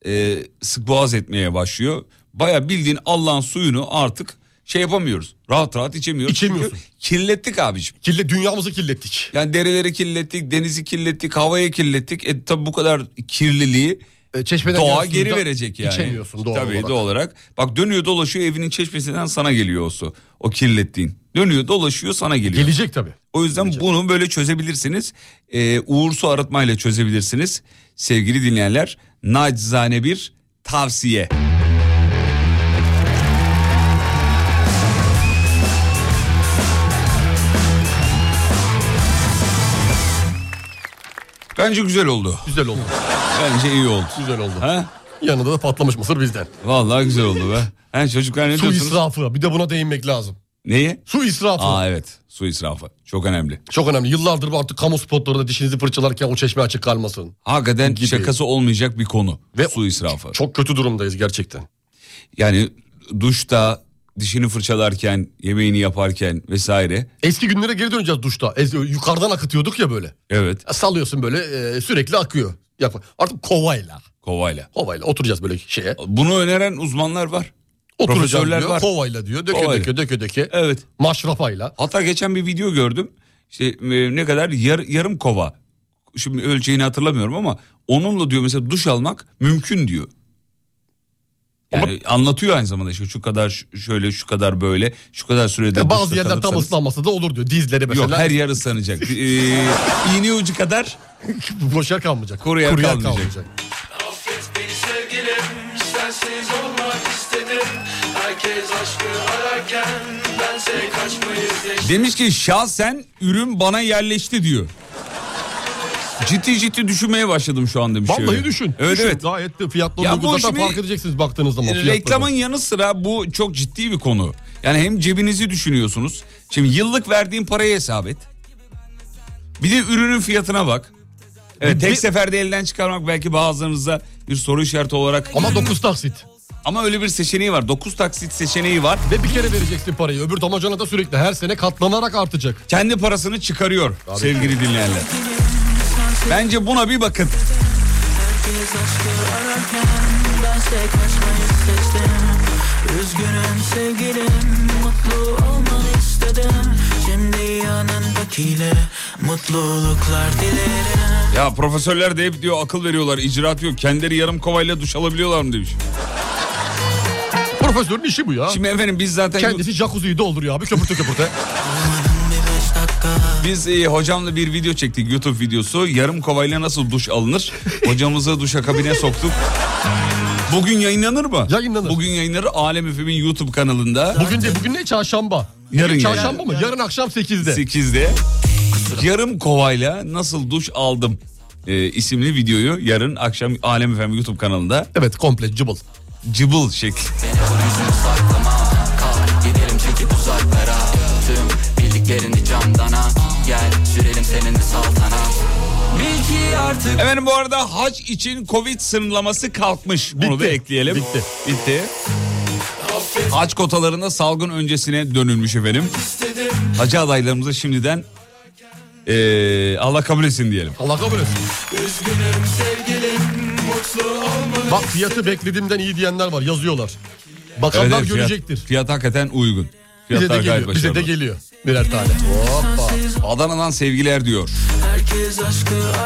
e, sık boğaz etmeye başlıyor. Baya bildiğin Allah'ın suyunu artık şey yapamıyoruz. Rahat rahat içemiyoruz. Çünkü İçemiyorsun. kirlettik abiciğim. Kirli, dünyamızı kirlettik. Yani dereleri kirlettik, denizi kirlettik, havayı kirlettik. E tabi bu kadar kirliliği E, Çeşmeden doğa gelen suyu geri da verecek yani. İçemiyorsun doğal Tabii olarak. doğal olarak. Bak dönüyor dolaşıyor evinin çeşmesinden sana geliyor o su. O kirlettiğin. Dönüyor dolaşıyor sana geliyor. Gelecek tabii. o yüzden bunu böyle çözebilirsiniz. Ee, Uğur su arıtmayla çözebilirsiniz. Sevgili dinleyenler nacizane bir tavsiye. Bence güzel oldu. Güzel oldu. Bence iyi oldu. Güzel oldu. Ha? Yanında da patlamış mısır bizden. Vallahi güzel oldu be. Ha, çocuklar ne Su diyorsunuz? israfı. Bir de buna değinmek lazım. Neyi? Su israfı. Aa evet su israfı çok önemli. Çok önemli. Yıllardır bu artık kamu spotlarında dişinizi fırçalarken o çeşme açık kalmasın. Hakikaten şakası olmayacak bir konu Ve- su israfı. Çok kötü durumdayız gerçekten. Yani duşta dişini fırçalarken yemeğini yaparken vesaire. Eski günlere geri döneceğiz duşta. Ez- yukarıdan akıtıyorduk ya böyle. Evet Ya Sallıyorsun böyle e, sürekli akıyor. Yap artık kovayla. kovayla. Kovayla oturacağız böyle şeye. Bunu öneren uzmanlar var. Oturacağım Profesörler diyor. var. Kovayla diyor. Döke Kovayla. döke döke döke. Evet. Maşrapayla. Hatta geçen bir video gördüm. İşte e, ne kadar Yar- yarım kova. Şimdi ölçeğini hatırlamıyorum ama onunla diyor mesela duş almak mümkün diyor. Yani anlatıyor aynı zamanda işte şu kadar ş- şöyle şu kadar böyle şu kadar sürede Ya bazı duşta yerler tam kalırsanız- ıslanmasa da olur diyor. Dizleri mesela Yok her yer ıslanacak. ee, iğne ucu kadar boşa kalmayacak. Kuruya kalmayacak. demiş ki şahsen ürün bana yerleşti diyor. Ciddi ciddi düşünmeye başladım şu an demiş. Vallahi öyle. düşün. şey Evet düşün. evet. Gayet de fiyatlı Ya olduğunu bu zaten şimdi- fark edeceksiniz baktığınız zaman. fiyatları. Reklamın yanı sıra bu çok ciddi bir konu. Yani hem cebinizi düşünüyorsunuz. Şimdi yıllık verdiğin parayı hesap et. Bir de ürünün fiyatına bak. Evet, tek seferde elden çıkarmak belki bazılarınıza bir soru işareti olarak ama, Ama 9 taksit. ama öyle bir seçeneği var. 9 taksit seçeneği var. Ve bir kere vereceksin parayı. Öbür damacana da sürekli her sene katlanarak artacak. Kendi parasını çıkarıyor sevgili dinleyenler. Bence buna bir bakın. Üzgünüm sevgilim Mutlu olmanı istedim Şimdi yanındakiyle Mutluluklar dilerim Ya profesörler de hep diyor akıl veriyorlar, icraat yok. Kendileri yarım kovayla duş alabiliyorlar mı demiş. Profesörün işi bu ya. Şimdi efendim biz zaten Kendisi jacuzziyi dolduruyor abi köpürte köpürte. Biz e, hocamla bir video çektik YouTube videosu. Yarım kovayla nasıl duş alınır? Hocamızı duşa kabine soktuk. Bugün yayınlanır mı? Yayınlanır. Bugün yayınlanır Alem FM'in YouTube kanalında. Bugün de bugün ne? Çarşamba. Yarın Bugün yani. Çarşamba mı? Yarın akşam 8'de. 8'de. Yarım kovayla nasıl duş aldım e, isimli videoyu yarın akşam Alem FM YouTube kanalında Evet komple cıbıl. cıbıl şekli. Efendim bu arada hac için Covid sınırlaması kalkmış. Bunu Bitti. da ekleyelim. Bitti. Bitti. Hac kotalarında salgın öncesine dönülmüş efendim. Hacı adaylarımıza şimdiden eee, Allah kabul etsin diyelim. Allah kabul etsin. Bak fiyatı beklediğimden iyi diyenler var yazıyorlar. Evet, Bakanlar evet, fiyat- görecektir. Fiyat hakikaten uygun. Bize de Fiyatlar gayet geliyor. Bize de başarılı. geliyor. Birer tane. Hoppa. Adana'dan sevgiler diyor.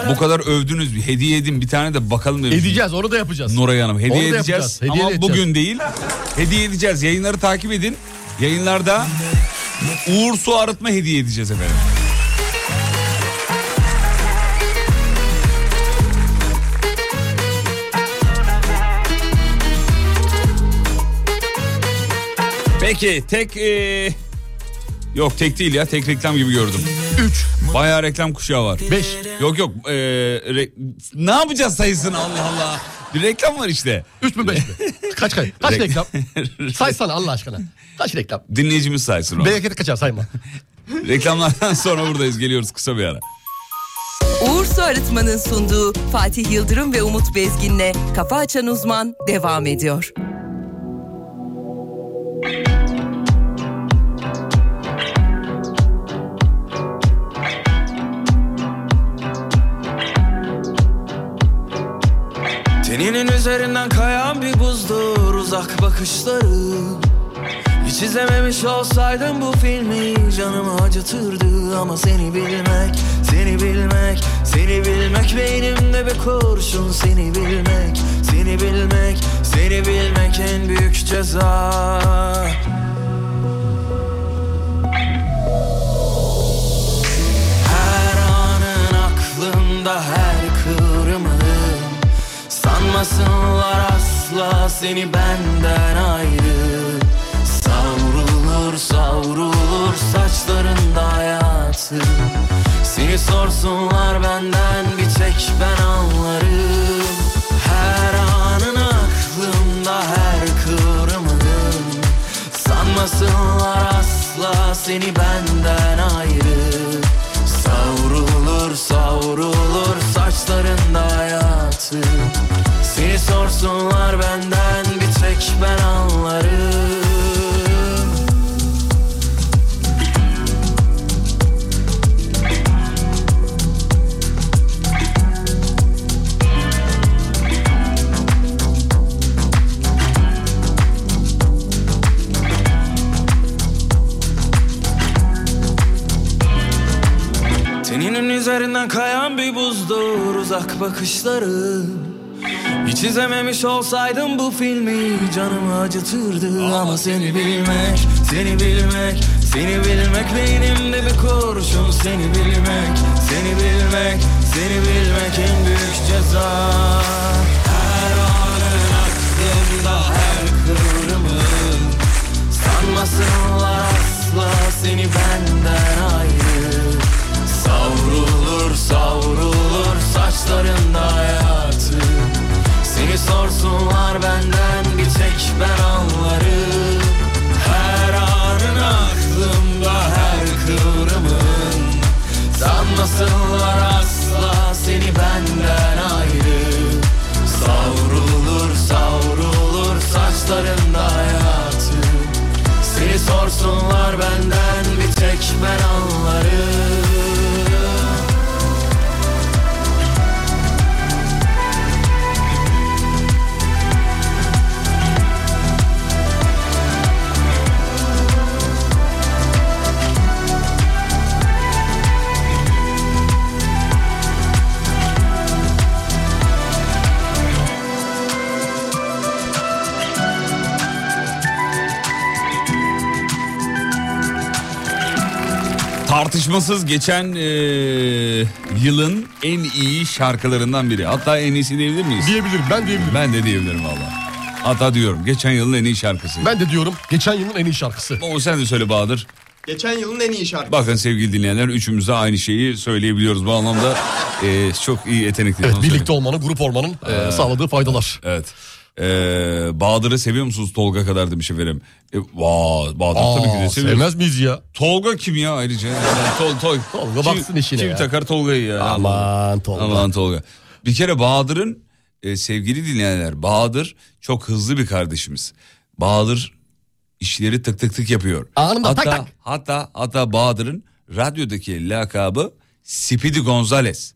Bu kadar övdünüz. bir Hediye edin bir tane de bakalım demiş. Edeceğiz onu da yapacağız. Nuray Hanım. Hediye Onu da edeceğiz yapacağız, hediye ama de edeceğiz. bugün değil. Hediye edeceğiz. Yayınları takip edin. Yayınlarda Uğur Su Arıtma hediye edeceğiz efendim. Peki tek e, eee, yok tek değil ya tek reklam gibi gördüm. 3, Bayağı reklam kuşağı var. 5. Yok yok eee, re- ne yapacağız sayısını Allah Allah. Bir reklam var işte. 3 mü 5 mi? Kaç kaç? Kaç Rek- reklam? Saysana Allah aşkına. Kaç reklam? Dinleyicimiz saysın onu. Bereketi kaçar sayma. Reklamlardan sonra buradayız geliyoruz kısa bir ara. Uğur Su Arıtma'nın sunduğu Fatih Yıldırım ve Umut Bezgin'le Kafa Açan Uzman devam ediyor. Teninin üzerinden kayan bir buzdur uzak bakışları Hiç izlememiş olsaydım bu filmi canımı acıtırdı Ama seni bilmek, seni bilmek, seni bilmek Beynimde bir kurşun seni bilmek, seni bilmek, seni bilmek en büyük ceza Her anın aklımda her kıvrımın Sanmasınlar asla seni benden ayrı Savrulur savrulur saçlarında hayatı Seni sorsunlar benden bir tek ben anlarım Her anın aklımda her kıvrımın Sanmasınlar asla Seni sorsunlar benden bir tek ben anlarım Teninin üzerinden kayan bir buzdur uzak bakışları Hiç izlememiş olsaydım bu filmi canımı acıtırdı Ama seni bilmek, seni bilmek, seni bilmek Beynimde bir kurşun seni bilmek, seni bilmek, seni bilmek en büyük ceza Her anın aklımda her kıvrımın Sanmasınlar asla seni benden ayrı Savrulur savrulur saçlarında hayatı Seni sorsunlar benden bir tek ben anlarım Her anın aklımda her kıvrımın Sanmasınlar asla seni benden ayrı Savrulur savrulur saçlarında hayatı Seni sorsunlar benden bir tek ben anlarım Tartışmasız geçen e, yılın en iyi şarkılarından biri. Hatta en iyisi diyebilir miyiz? Diyebilirim ben diyebilirim. Ben de diyebilirim valla. Hatta diyorum geçen yılın en iyi şarkısı. Ben de diyorum geçen yılın en iyi şarkısı. O sen de söyle Bahadır. Geçen yılın en iyi şarkısı. Bakın sevgili dinleyenler üçümüz de aynı şeyi söyleyebiliyoruz. Bu anlamda e, çok iyi yetenekli. Evet, birlikte olmanın, grup olmanın e, Ee, sağladığı faydalar. Evet. Ee, Bahadır'ı seviyor musunuz Tolga kadar demiş efendim. E, vaa, Bahadır Aa, tabii ki de seviyor. sevmez miyiz ya? Tolga kim ya ayrıca? Yani Tol, tol, Tolga kim, baksın işine Kim ya. takar Tolga'yı ya? Aman Tolga. Aman Tolga. Bir kere Bahadır'ın e, sevgili dinleyenler Bahadır çok hızlı bir kardeşimiz. Bahadır işleri tık tık tık yapıyor. Anında hatta, tak tak. Hatta, hatta Bahadır'ın radyodaki lakabı Speedy Gonzales.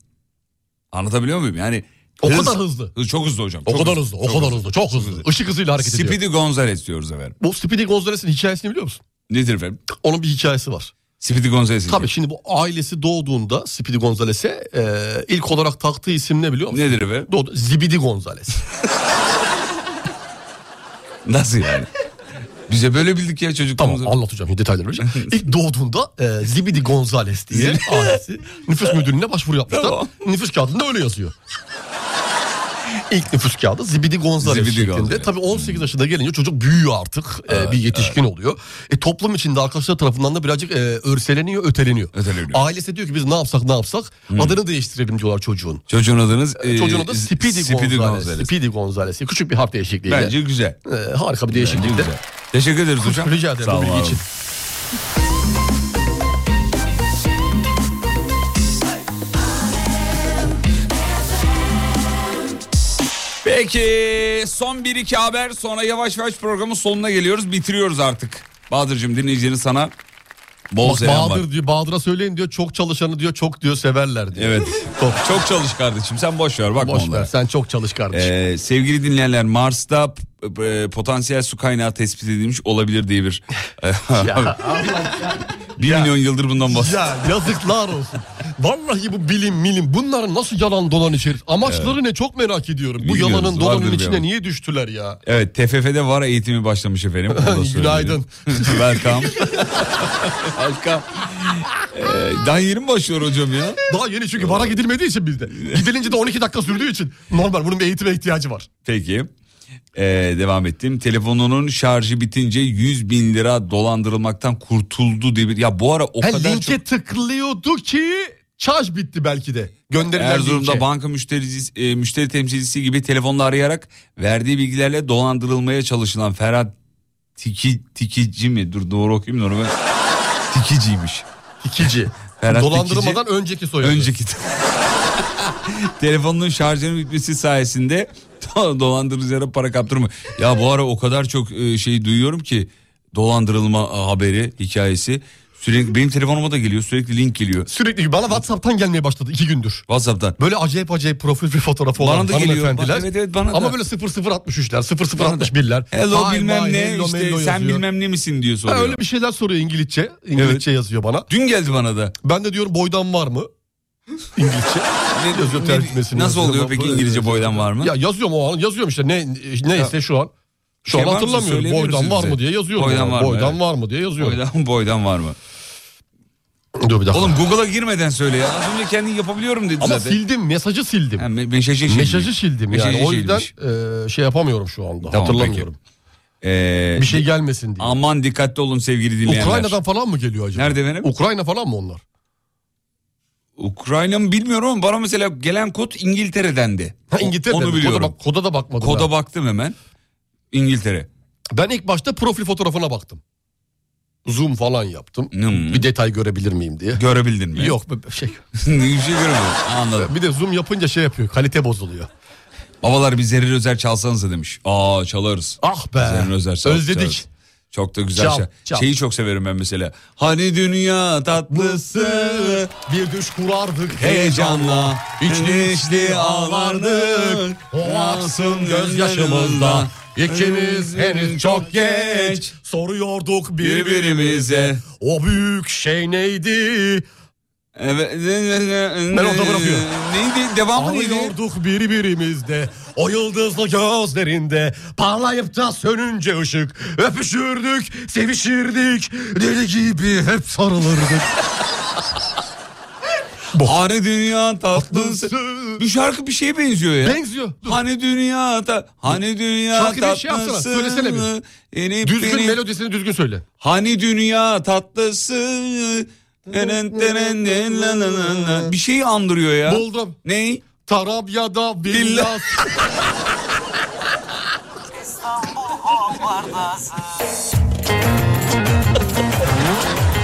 Anlatabiliyor muyum? Yani O kadar hızlı. hız- Çok hızlı hocam. O çok kadar hızlı, o kadar hızlı, çok hızlı. Işık hızıyla hareket ediyor. Speedy Gonzales diyoruz efendim. Bu Speedy Gonzales'in hikayesini biliyor musun? Nedir efendim? Onun bir hikayesi var. Speedy Gonzales. Tabii şimdi bu ailesi doğduğunda Speedy Gonzales'e e, ilk olarak taktığı isim ne biliyor musun? Nedir efendim? Doğdu. Zibidi Gonzales. Nasıl yani? Bize böyle bildik ya çocukluğumuzda. Tamam anlatacağım detayları vereceğim. İlk doğduğunda e, Zibidi Gonzales diye ailesi nüfus müdürlüğüne başvuru yapmışlar. Tamam. Nüfus kağıdında öyle yazıyor. İlk nüfus kağıdı Zibidi Gonzales Zibidi şeklinde. Gonzales. Hmm. Tabii 18 yaşında gelince çocuk büyüyor artık. E, bir yetişkin oluyor. E, toplum içinde arkadaşlar tarafından da birazcık e, örseleniyor, öteleniyor. Öteleniyor. Hmm. Ailesi diyor ki biz ne yapsak ne yapsak adını değiştirelim diyorlar çocuğun. Çocuğun adınız... e, Çocuğun adı Z- Speedy, Speedy Gonzales. Gonzales. Speedy Gonzales. Küçük bir harf değişikliğiyle. Bence güzel. E, harika bir Bence değişiklikle. güzel. Teşekkür ederiz hocam. Rica ederim Sağ bu olun. bilgi için. Peki son bir iki haber sonra yavaş yavaş programın sonuna geliyoruz. Bitiriyoruz artık. Bahadır'cığım dinleyicilerin sana bol Bak selam var. Bahadır diyor, Bahadır'a söyleyin diyor. Çok çalışanı diyor, çok diyor severler diyor. Evet. Çok, Çok çalış kardeşim sen boş ver bakma boş ver. onlara. Sen çok çalış kardeşim. Ee, sevgili dinleyenler Mars'ta p- p- potansiyel su kaynağı tespit edilmiş olabilir diye bir... e, Ya, bir milyon yıldır bundan bahsediyoruz. ya yazıklar olsun. Vallahi bu bilim bilim bunların nasıl yalan dolan içerir? Amaçları ne çok merak ediyorum. Bu Bilmiyoruz, yalanın vardır dolanın bir içine amaç. niye düştüler ya? Evet TFF'de var eğitimi başlamış efendim. Onu da söyleyelim. Günaydın. Welcome. Welcome. Ee, daha yeni mi başlıyor hocam ya? Daha yeni çünkü vara gidilmediği için bizde. Gidilince de 12 dakika sürdüğü için normal bunun bir eğitime ihtiyacı var. Peki. Ee, devam ettim. Telefonunun şarjı bitince 100 bin lira dolandırılmaktan kurtuldu diye bir... Ya bu ara o Ha, kadar linke çok... tıklıyordu ki şarj bitti belki de. Gönderilen Erzurum'da linke. banka müşterisi, e, müşteri temsilcisi gibi telefonla arayarak verdiği bilgilerle dolandırılmaya çalışılan Ferhat Tiki, Tikici mi? Dur doğru okuyayım da onu ben. Tikiciymiş. İkici. Ferhat Dolandırmadan önceki soyadı. Önceki. Telefonun şarjının bitmesi sayesinde dolandırıcılara para kaptırma. Ya bu ara o kadar çok e, şey duyuyorum ki dolandırılma e, haberi, hikayesi. Sürekli benim telefonuma da geliyor. Sürekli link geliyor. Sürekli bana WhatsApp'tan gelmeye başladı iki gündür. WhatsApp'tan. Böyle acayip acayip profil bir fotoğrafı olan Bana da geliyor. hanımefendiler. Bak, evet, evet, bana Ama da. böyle 0063'ler, 0061'ler. Hello Hi, bilmem bye, ne hello, işte hello sen yazıyor. bilmem ne misin diyor Ha, soruyor. öyle bir şeyler soruyor İngilizce. İngilizce yazıyor bana. Dün geldi bana da. Ben de diyorum boydan var mı? İngilizce. ne yazıyor tercümesini? nasıl yazıyorum. oluyor peki Böyle- İngilizce boydan var mı? Ya yazıyorum o an yazıyorum işte ne neyse Ya. şu an. Şu Şey an var mı? hatırlamıyorum. Söyleyebilir Boydan misiniz var bize? mı diye yazıyorum. Boydan yani. var mı? boydan Evet. var mı diye yazıyorum. Boydan, boydan var mı? Dur bir dakika. Oğlum Google'a girmeden söyle ya. Az önce kendin yapabiliyorum dedi Ama zaten. sildim mesajı sildim. Ha, me- mesajı sildim. Mesajı sildim yani. Mesajı o yüzden silmiş. e, şey yapamıyorum şu anda. Tamam, hatırlamıyorum. peki. Ee, Bir şey gelmesin diye. Aman dikkatli olun sevgili dinleyenler. Ukrayna'dan falan mı geliyor acaba? Nerede benim? Ukrayna falan mı onlar? Ukrayna mı bilmiyorum ama bana mesela gelen kod İngiltere'dendi. Ha İngiltere'de. mi? Onu Koda biliyorum. bak- Koda, da bakmadım. Koda ben. baktım hemen. İngiltere. Ben ilk başta profil fotoğrafına baktım. Zoom falan yaptım. Bir detay görebilir miyim diye. Görebildin mi? Yok be- şey. Hmm. Bir şey göremedim. Anladım. Bir de zoom yapınca şey yapıyor. Kalite bozuluyor. Babalar bir Zerrin Özer çalsanıza demiş. Aa çalarız. Ah be. Zerrin Özer çal- Özledik. çalarız. Çok da güzel Çal, şey. çal. Şeyi çok severim ben mesela. Hani dünya tatlısı Bir düş kurardık heyecanla içli içli ağlardık. O aksın gözyaşımızda gözyaşımızda. İkimiz henüz çok geç Soruyorduk birbirimize birbirimize. O büyük şey neydi? Evet. Ben Ben orada bırakıyorum. Neydi? Devamı neydi? Ağlıyorduk birbirimizde O yıldızlı gözlerinde Parlayıp da sönünce ışık Öpüşürdük, sevişirdik Deli gibi hep sarılırdık Hani dünya tatlısı. Bu şarkı bir şeye benziyor ya. Benziyor Dur. Hani dünya ta hani dünya Şarkı bir şey yapsana, tatlısı. söylesene Enip Düzgün enip- melodisini düzgün söyle Hani dünya tatlısı. Enen tenen nen la la la la. Bir şeyi andırıyor ya. Buldum Ney? Tarabya'da Villa. villa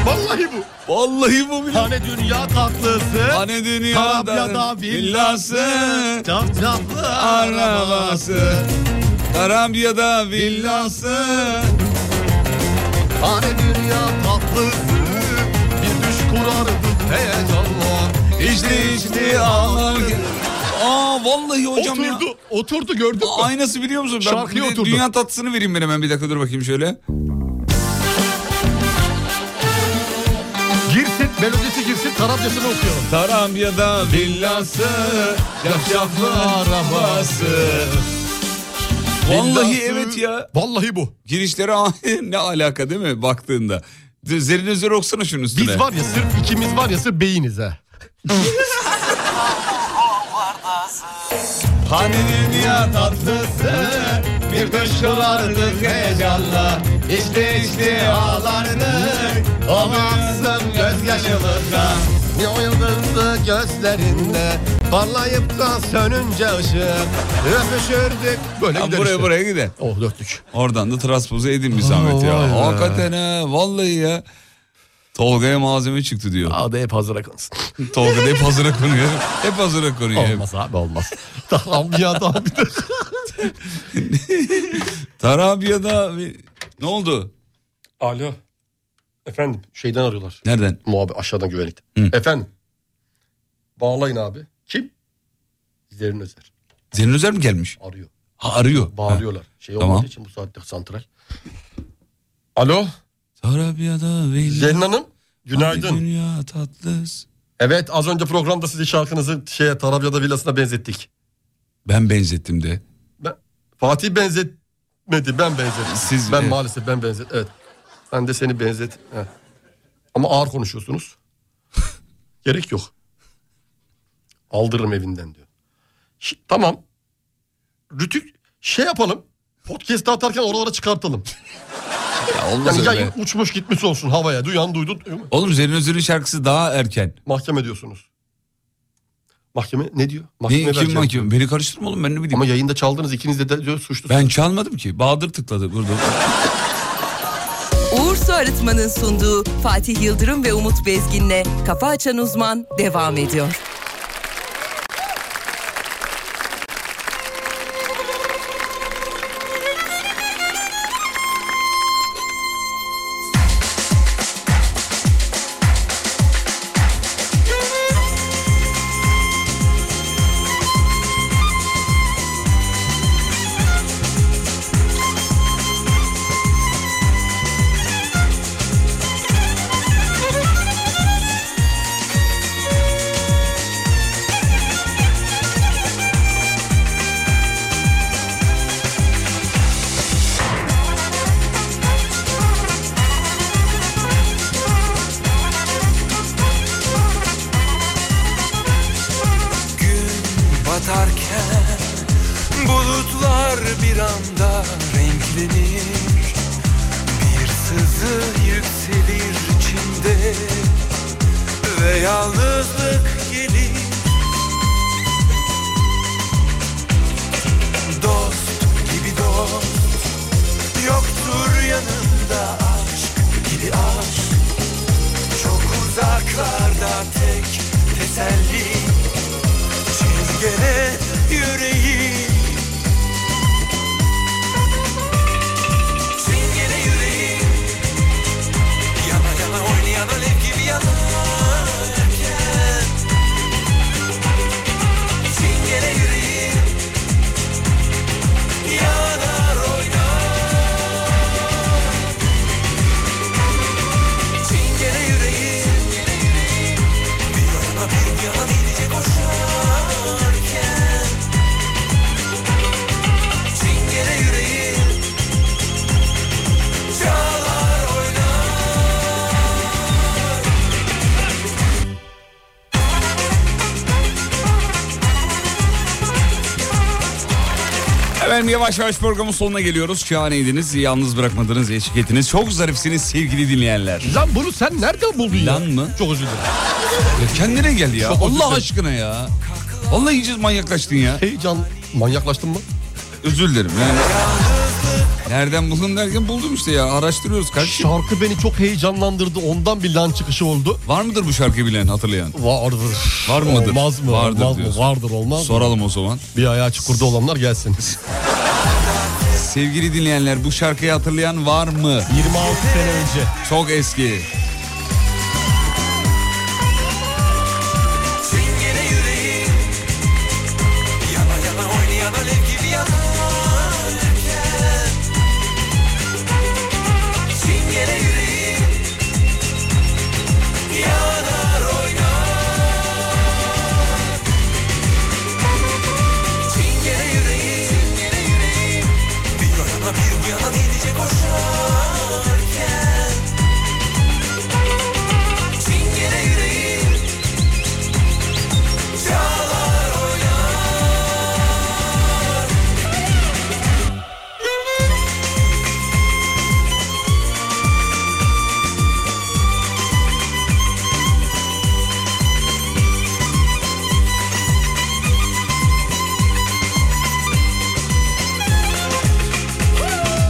Vallahi bu. Vallahi bu bile. Hani dünya tatlısı. Hani dünya da Tarabya'da villası. Çapçaplı arabası. arabası. Tarabya'da villası. Hani dünya tatlısı. Bir düş kurardık heyecanla. İçti içti ağlarken. Aa vallahi hocam ya. Oturdu. Oturdu gördün mü? Aa, Aynası biliyor musun? Ben Şarkıya bir de oturdu. Dünya tatlısını vereyim ben hemen bir dakika dur bakayım şöyle. Girsin melodisi girsin Tarabya'sını okuyalım. Tarabya'da villası, Çapçaplı arabası. Vallahi villası. evet ya. Vallahi bu. Girişlere ne alaka değil mi baktığında? Zerin Özer oksana şunun üstüne. Biz var ya sırf ikimiz var ya sırf beyiniz ha. Hani dünya tatlısı bir düş kurardık heyecanla. İşte işte ağlardık Amansın gözyaşımızda O yıldızlı gözlerinde Parlayıp da sönünce ışık Öpüşürdük Böyle gider buraya işte. buraya gider. Oh dörtlük Oradan da transpoze edin bir zahmet vay be. ya. Hakikaten ha vallahi ya. Tolga'ya malzeme çıktı diyor. Adı hep hazıra kalsın Tolga da hep hazıra konuyor. Hep hazıra konuyor. hep. Olmaz abi olmaz Tamam ya tamam bir dakika. Tarabya'da bir- ne oldu? Alo Efendim şeyden arıyorlar Nereden? Muhabbet aşağıdan güvenlik Hı. Efendim Bağlayın abi Kim? Zerrin Özer Zeynur Özer mi gelmiş? arıyor Ha, arıyor. Bağlıyorlar Şey Tamam. olmadığı için bu saatte santral Alo Ha. Tarabya'da villa. Zerrin Hanım Günaydın Dünya tatlısı. Evet az önce programda sizin şarkınızı şeye Tarabya'da villasına benzettik. Ben benzettim de. Ben, Fatih benzetmedi ben benzettim. Siz- ben evet. maalesef ben benzet. Evet. Ben de seni benzet. Heh. Ama ağır konuşuyorsunuz. Gerek yok. Aldırırım evinden diyor. Şi- tamam. Rütük şey yapalım. Podcast'ı atarken oralara çıkartalım. Ya olmaz Yani öyle. yayın uçmuş gitmiş olsun havaya. Duyan duydun. değil mi? Oğlum Zeynur Özer'in şarkısı daha erken. Mahkeme diyorsunuz. Mahkeme ne diyor? Mahkeme Ne, kim vereceğim. mahkeme? Beni karıştırma oğlum ben ne bileyim. Ama yayında çaldınız ikiniz de, de suçlusunuz. Ben çalmadım ki. Bahadır tıkladı burada. Uğur Su Arıtma'nın sunduğu Fatih Yıldırım ve Umut Bezgin'le Kafa Açan Uzman devam ediyor. Bahar bir anda renklenir Bir sızı yükselir içimde Ve yalnızlık gelir Dost gibi dost Yoktur yanımda aşk gibi aşk Çok uzaklarda tek teselli Çizgene yüreğim Çingene yüreğim Yana yana oynayan alev gibi yanarken Çingene yüreğim Yanar oynar Çingene yüreğim Bir yana bir yana delice koşarken Çingene yüreğim Çalar oynar Efendim yavaş yavaş programın sonuna geliyoruz. Şahaneydiniz, yalnız bırakmadınız, eşlik ettiniz. Çok zarifsiniz sevgili dinleyenler. Lan bunu sen nereden buldun Lan mı? Çok özür dilerim. Ya kendine gel ya. Çok özür Allah dilerim. aşkına ya. Vallahi iyice manyaklaştın ya. Heyecan. Manyaklaştın mı? Özür dilerim yani. Nereden buldun derken buldum işte ya. Araştırıyoruz kardeşim. şey- Şarkı beni çok heyecanlandırdı. Ondan bir lan çıkışı oldu. Var mıdır bu şarkıyı bilen hatırlayan? Vardır. Var mıdır? Olmaz mı? Vardır olmaz mı? diyorsun. Vardır olmaz mı? Soralım o zaman. Bir ayağı çukurda olanlar gelsin. Sevgili dinleyenler bu şarkıyı hatırlayan var mı? 26 sene önce. Çok eski. Çingene yüreğim Yana yana oynayan alev gibi yanarken Çingene yüreğim Yanar oynar Çingene yüreğim Bir o yana bir bu yana delice koşarken Çingene yüreğim Çalar oynar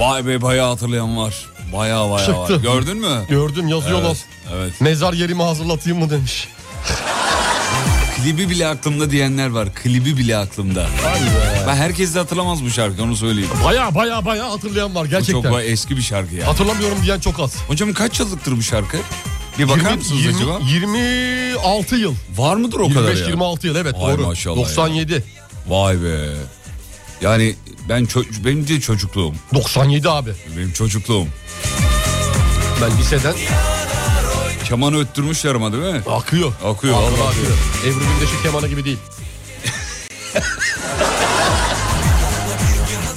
Vay be bayağı hatırlayan var. Bayağı bayağı var. Çıktı. Gördün mü? Gördüm yazıyorlar. Evet, evet. Mezar yerimi hazırlatayım mı demiş. Klibi bile aklımda diyenler var. Klibi bile aklımda. Ben herkes de hatırlamaz bu şarkıyı onu söyleyeyim. Baya baya baya hatırlayan var Bu çok gerçekten. bayağı eski bir şarkı ya. Hatırlamıyorum diyen çok az. Hocam kaç yıllıktır bu şarkı? Bir bakar 20 mısınız 20 acaba? 26 yıl. Var mıdır o kadar ya? 25-26 yıl evet Vay doğru. maşallah ya. 97. Vay be. Yani ben ço- benim de çocukluğum. 97 abi. Benim çocukluğum. Ben liseden Kemanı öttürmüşler ama değil mi? akıyor. Akıyor. Akıyor, vallahi akıyor. akıyor. Ebru Gündeş'in kemanı gibi değil.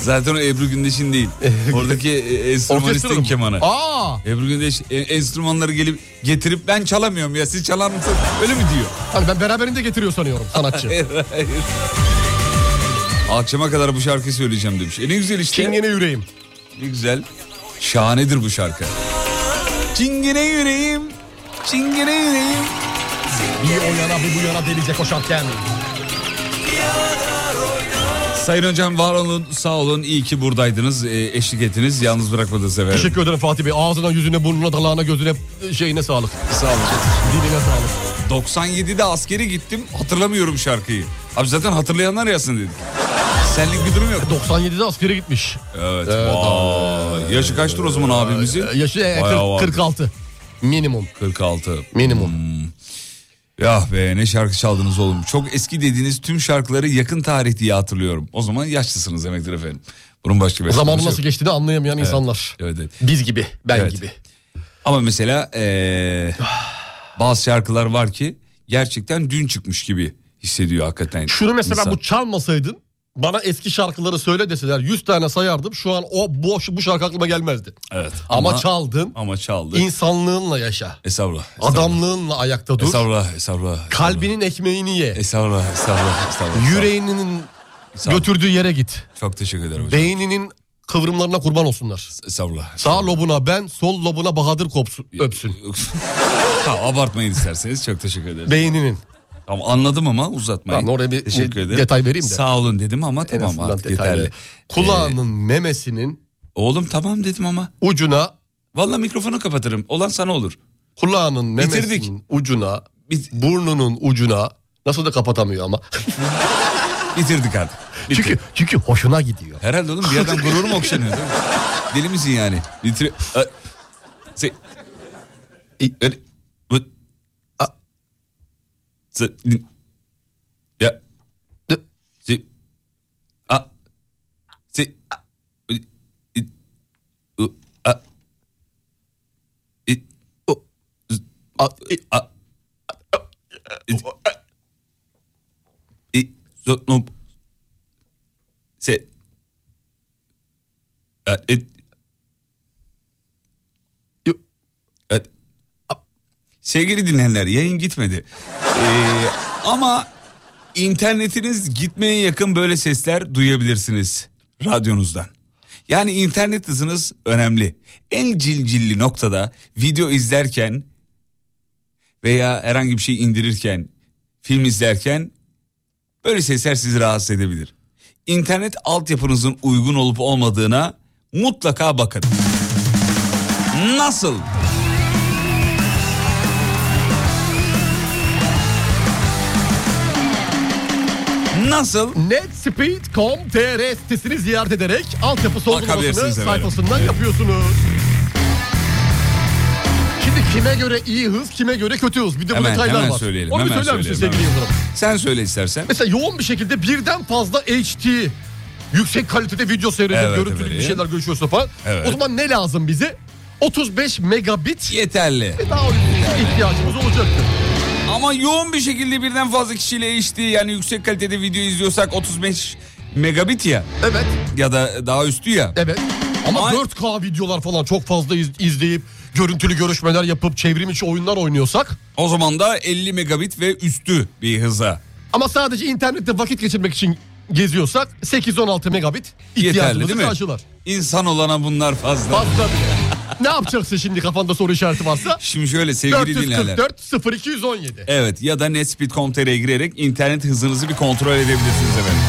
Zaten o Ebru Gündeş'in değil. Oradaki e, Orkestranın enstrümanistin mı? kemanı. Aa! Ebru Gündeş e, enstrümanları gelip getirip ben çalamıyorum ya siz çalar mısınız? Öyle mi diyor? Hani ben beraberinde getiriyor sanıyorum sanatçı. Hayır, hayır. Akşama kadar bu şarkıyı söyleyeceğim demiş. E ne güzel işte. Çingene yüreğim. Ne güzel. Şahanedir bu şarkı. Çingene yüreğim, çingene yüreğim. Bir o yana bir bu yana delicek koşarken. Sayın hocam var olun, sağ olun. İyi ki buradaydınız, e, eşlik ettiniz. Yalnız bırakmadınız efendim. Teşekkür ederim Fatih Bey. Ağzına, yüzüne, burnuna, dalağına, gözüne, e, şeyine sağlık. Sağ olun. Diline sağlık. 97'de askeri gittim, hatırlamıyorum şarkıyı. Abi zaten hatırlayanlar yazsın dedim. Senlik bir durum yok. 97'de askere gitmiş. Evet. vay. Yaşı kaçtır o zaman abimizin? Ee, Yaşı e, Bayağı 40, vardır. 46. Minimum. 46. Minimum. Hmm. Ya Ah be ne şarkı çaldınız oğlum. Çok eski dediğiniz tüm şarkıları yakın tarih diye hatırlıyorum. O zaman yaşlısınız demektir efendim. Bunun başka bir Zaman açıklaması nasıl yok. geçtiğini anlayamayan insanlar. Evet, evet. Biz gibi, ben Evet. gibi. Ama mesela eee, Ah. bazı şarkılar var ki gerçekten dün çıkmış gibi hissediyor hakikaten. Şunu mesela insan. bu çalmasaydın bana eski şarkıları söyle deseler 100 tane sayardım. Şu an o bu, bu şarkı aklıma gelmezdi. Evet. Ama, çaldın. Ama çaldı. insanlığınla yaşa. Estağfurullah. estağfurullah, Adamlığınla ayakta dur. Estağfurullah. Estağfurullah. Kalbinin ekmeğini ye. Estağfurullah. Estağfurullah. estağfurullah. Yüreğinin Götürdüğü yere git. Çok teşekkür ederim hocam. Beyninin kıvrımlarına kurban olsunlar. Savla. Sağ lobuna ben, sol lobuna Bahadır kopsun, öpsün. Ha, abartmayın isterseniz çok teşekkür ederim. Beyninin. Tamam anladım ama uzatmayın. Tamam, oraya bir Teşekkür şey- ederim. detay vereyim de. Sağ olun dedim ama En tamam azından artık detaylı. yeterli. Ee, Kulağının memesinin... Oğlum tamam dedim ama. Ucuna... Valla mikrofonu kapatırım. Olan sana olur. Kulağının memesinin Bitirdik. ucuna, burnunun ucuna... Nasıl da kapatamıyor ama. Bitirdik artık. Çünkü, çünkü hoşuna gidiyor. Herhalde oğlum bir yerden gururum okşanıyor değil mi? Deli misin yani? Bitir... A- Se... İ- Öyle- Bu... A- Se... Din- Ya... D- Se... A... Se... A- İ- İ- U- A- İ- U- Z- A- İ- İ- Z- No- Se... Uh, it. Yo- Evet. A- Sevgili dinleyenler yayın gitmedi. Ee, ama internetiniz gitmeye yakın böyle sesler duyabilirsiniz radyonuzdan. Yani internet hızınız önemli. En cilcilli noktada video izlerken veya herhangi bir şey indirirken, film izlerken böyle sesler sizi rahatsız edebilir internet altyapınızın uygun olup olmadığına mutlaka bakın. Nasıl? Nasıl? Netspeed.com.tr sitesini ziyaret ederek altyapı sorgulamasını Bakabilirsiniz efendim. sayfasından Evet. yapıyorsunuz. Şimdi kime göre iyi hız, kime göre kötü hız. Bir de bu Hemen, detaylar hemen var. söyleyelim. Onu bir hemen söyler misin söyleyelim, sevgili hemen. Yıldırım? Sen söyle istersen. Mesela yoğun bir şekilde birden fazla HD yüksek kalitede video seyrediyor, Evet görüntülü efendim. bir şeyler görüşüyorsa falan. Evet. O zaman ne lazım bize? 35 megabit Yeterli. ve daha üstüne ihtiyacımız olacaktır. Ama yoğun bir şekilde birden fazla kişiyle HD yani yüksek kalitede video izliyorsak 35 megabit ya. Evet. Ya da daha üstü ya. Evet. Ama Ay- 4K videolar falan çok fazla iz- izleyip görüntülü görüşmeler yapıp çevrim içi oyunlar oynuyorsak O zaman da 50 megabit ve üstü bir hıza. ama sadece internette vakit geçirmek için geziyorsak 8-16 megabit Yeterli değil ihtiyacımızı mi? karşılar. İnsan olana bunlar fazla. Fazla bile. ne yapacaksın şimdi kafanda soru işareti varsa? Şimdi şöyle sevgili dinleyenler. 444 0217. Evet ya da netspeed.com.tr'ye girerek internet hızınızı bir kontrol edebilirsiniz efendim.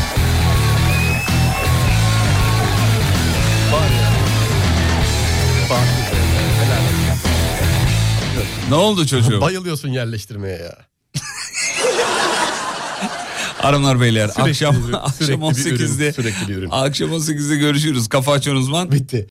Ne oldu çocuğum? Bayılıyorsun yerleştirmeye ya. Hanımlar beyler Sürekli akşam bir ürün, akşam sürekli bir ürün, 18'de sürekli bir ürün. akşam 18'de görüşürüz. Kafa açan uzman. Bitti.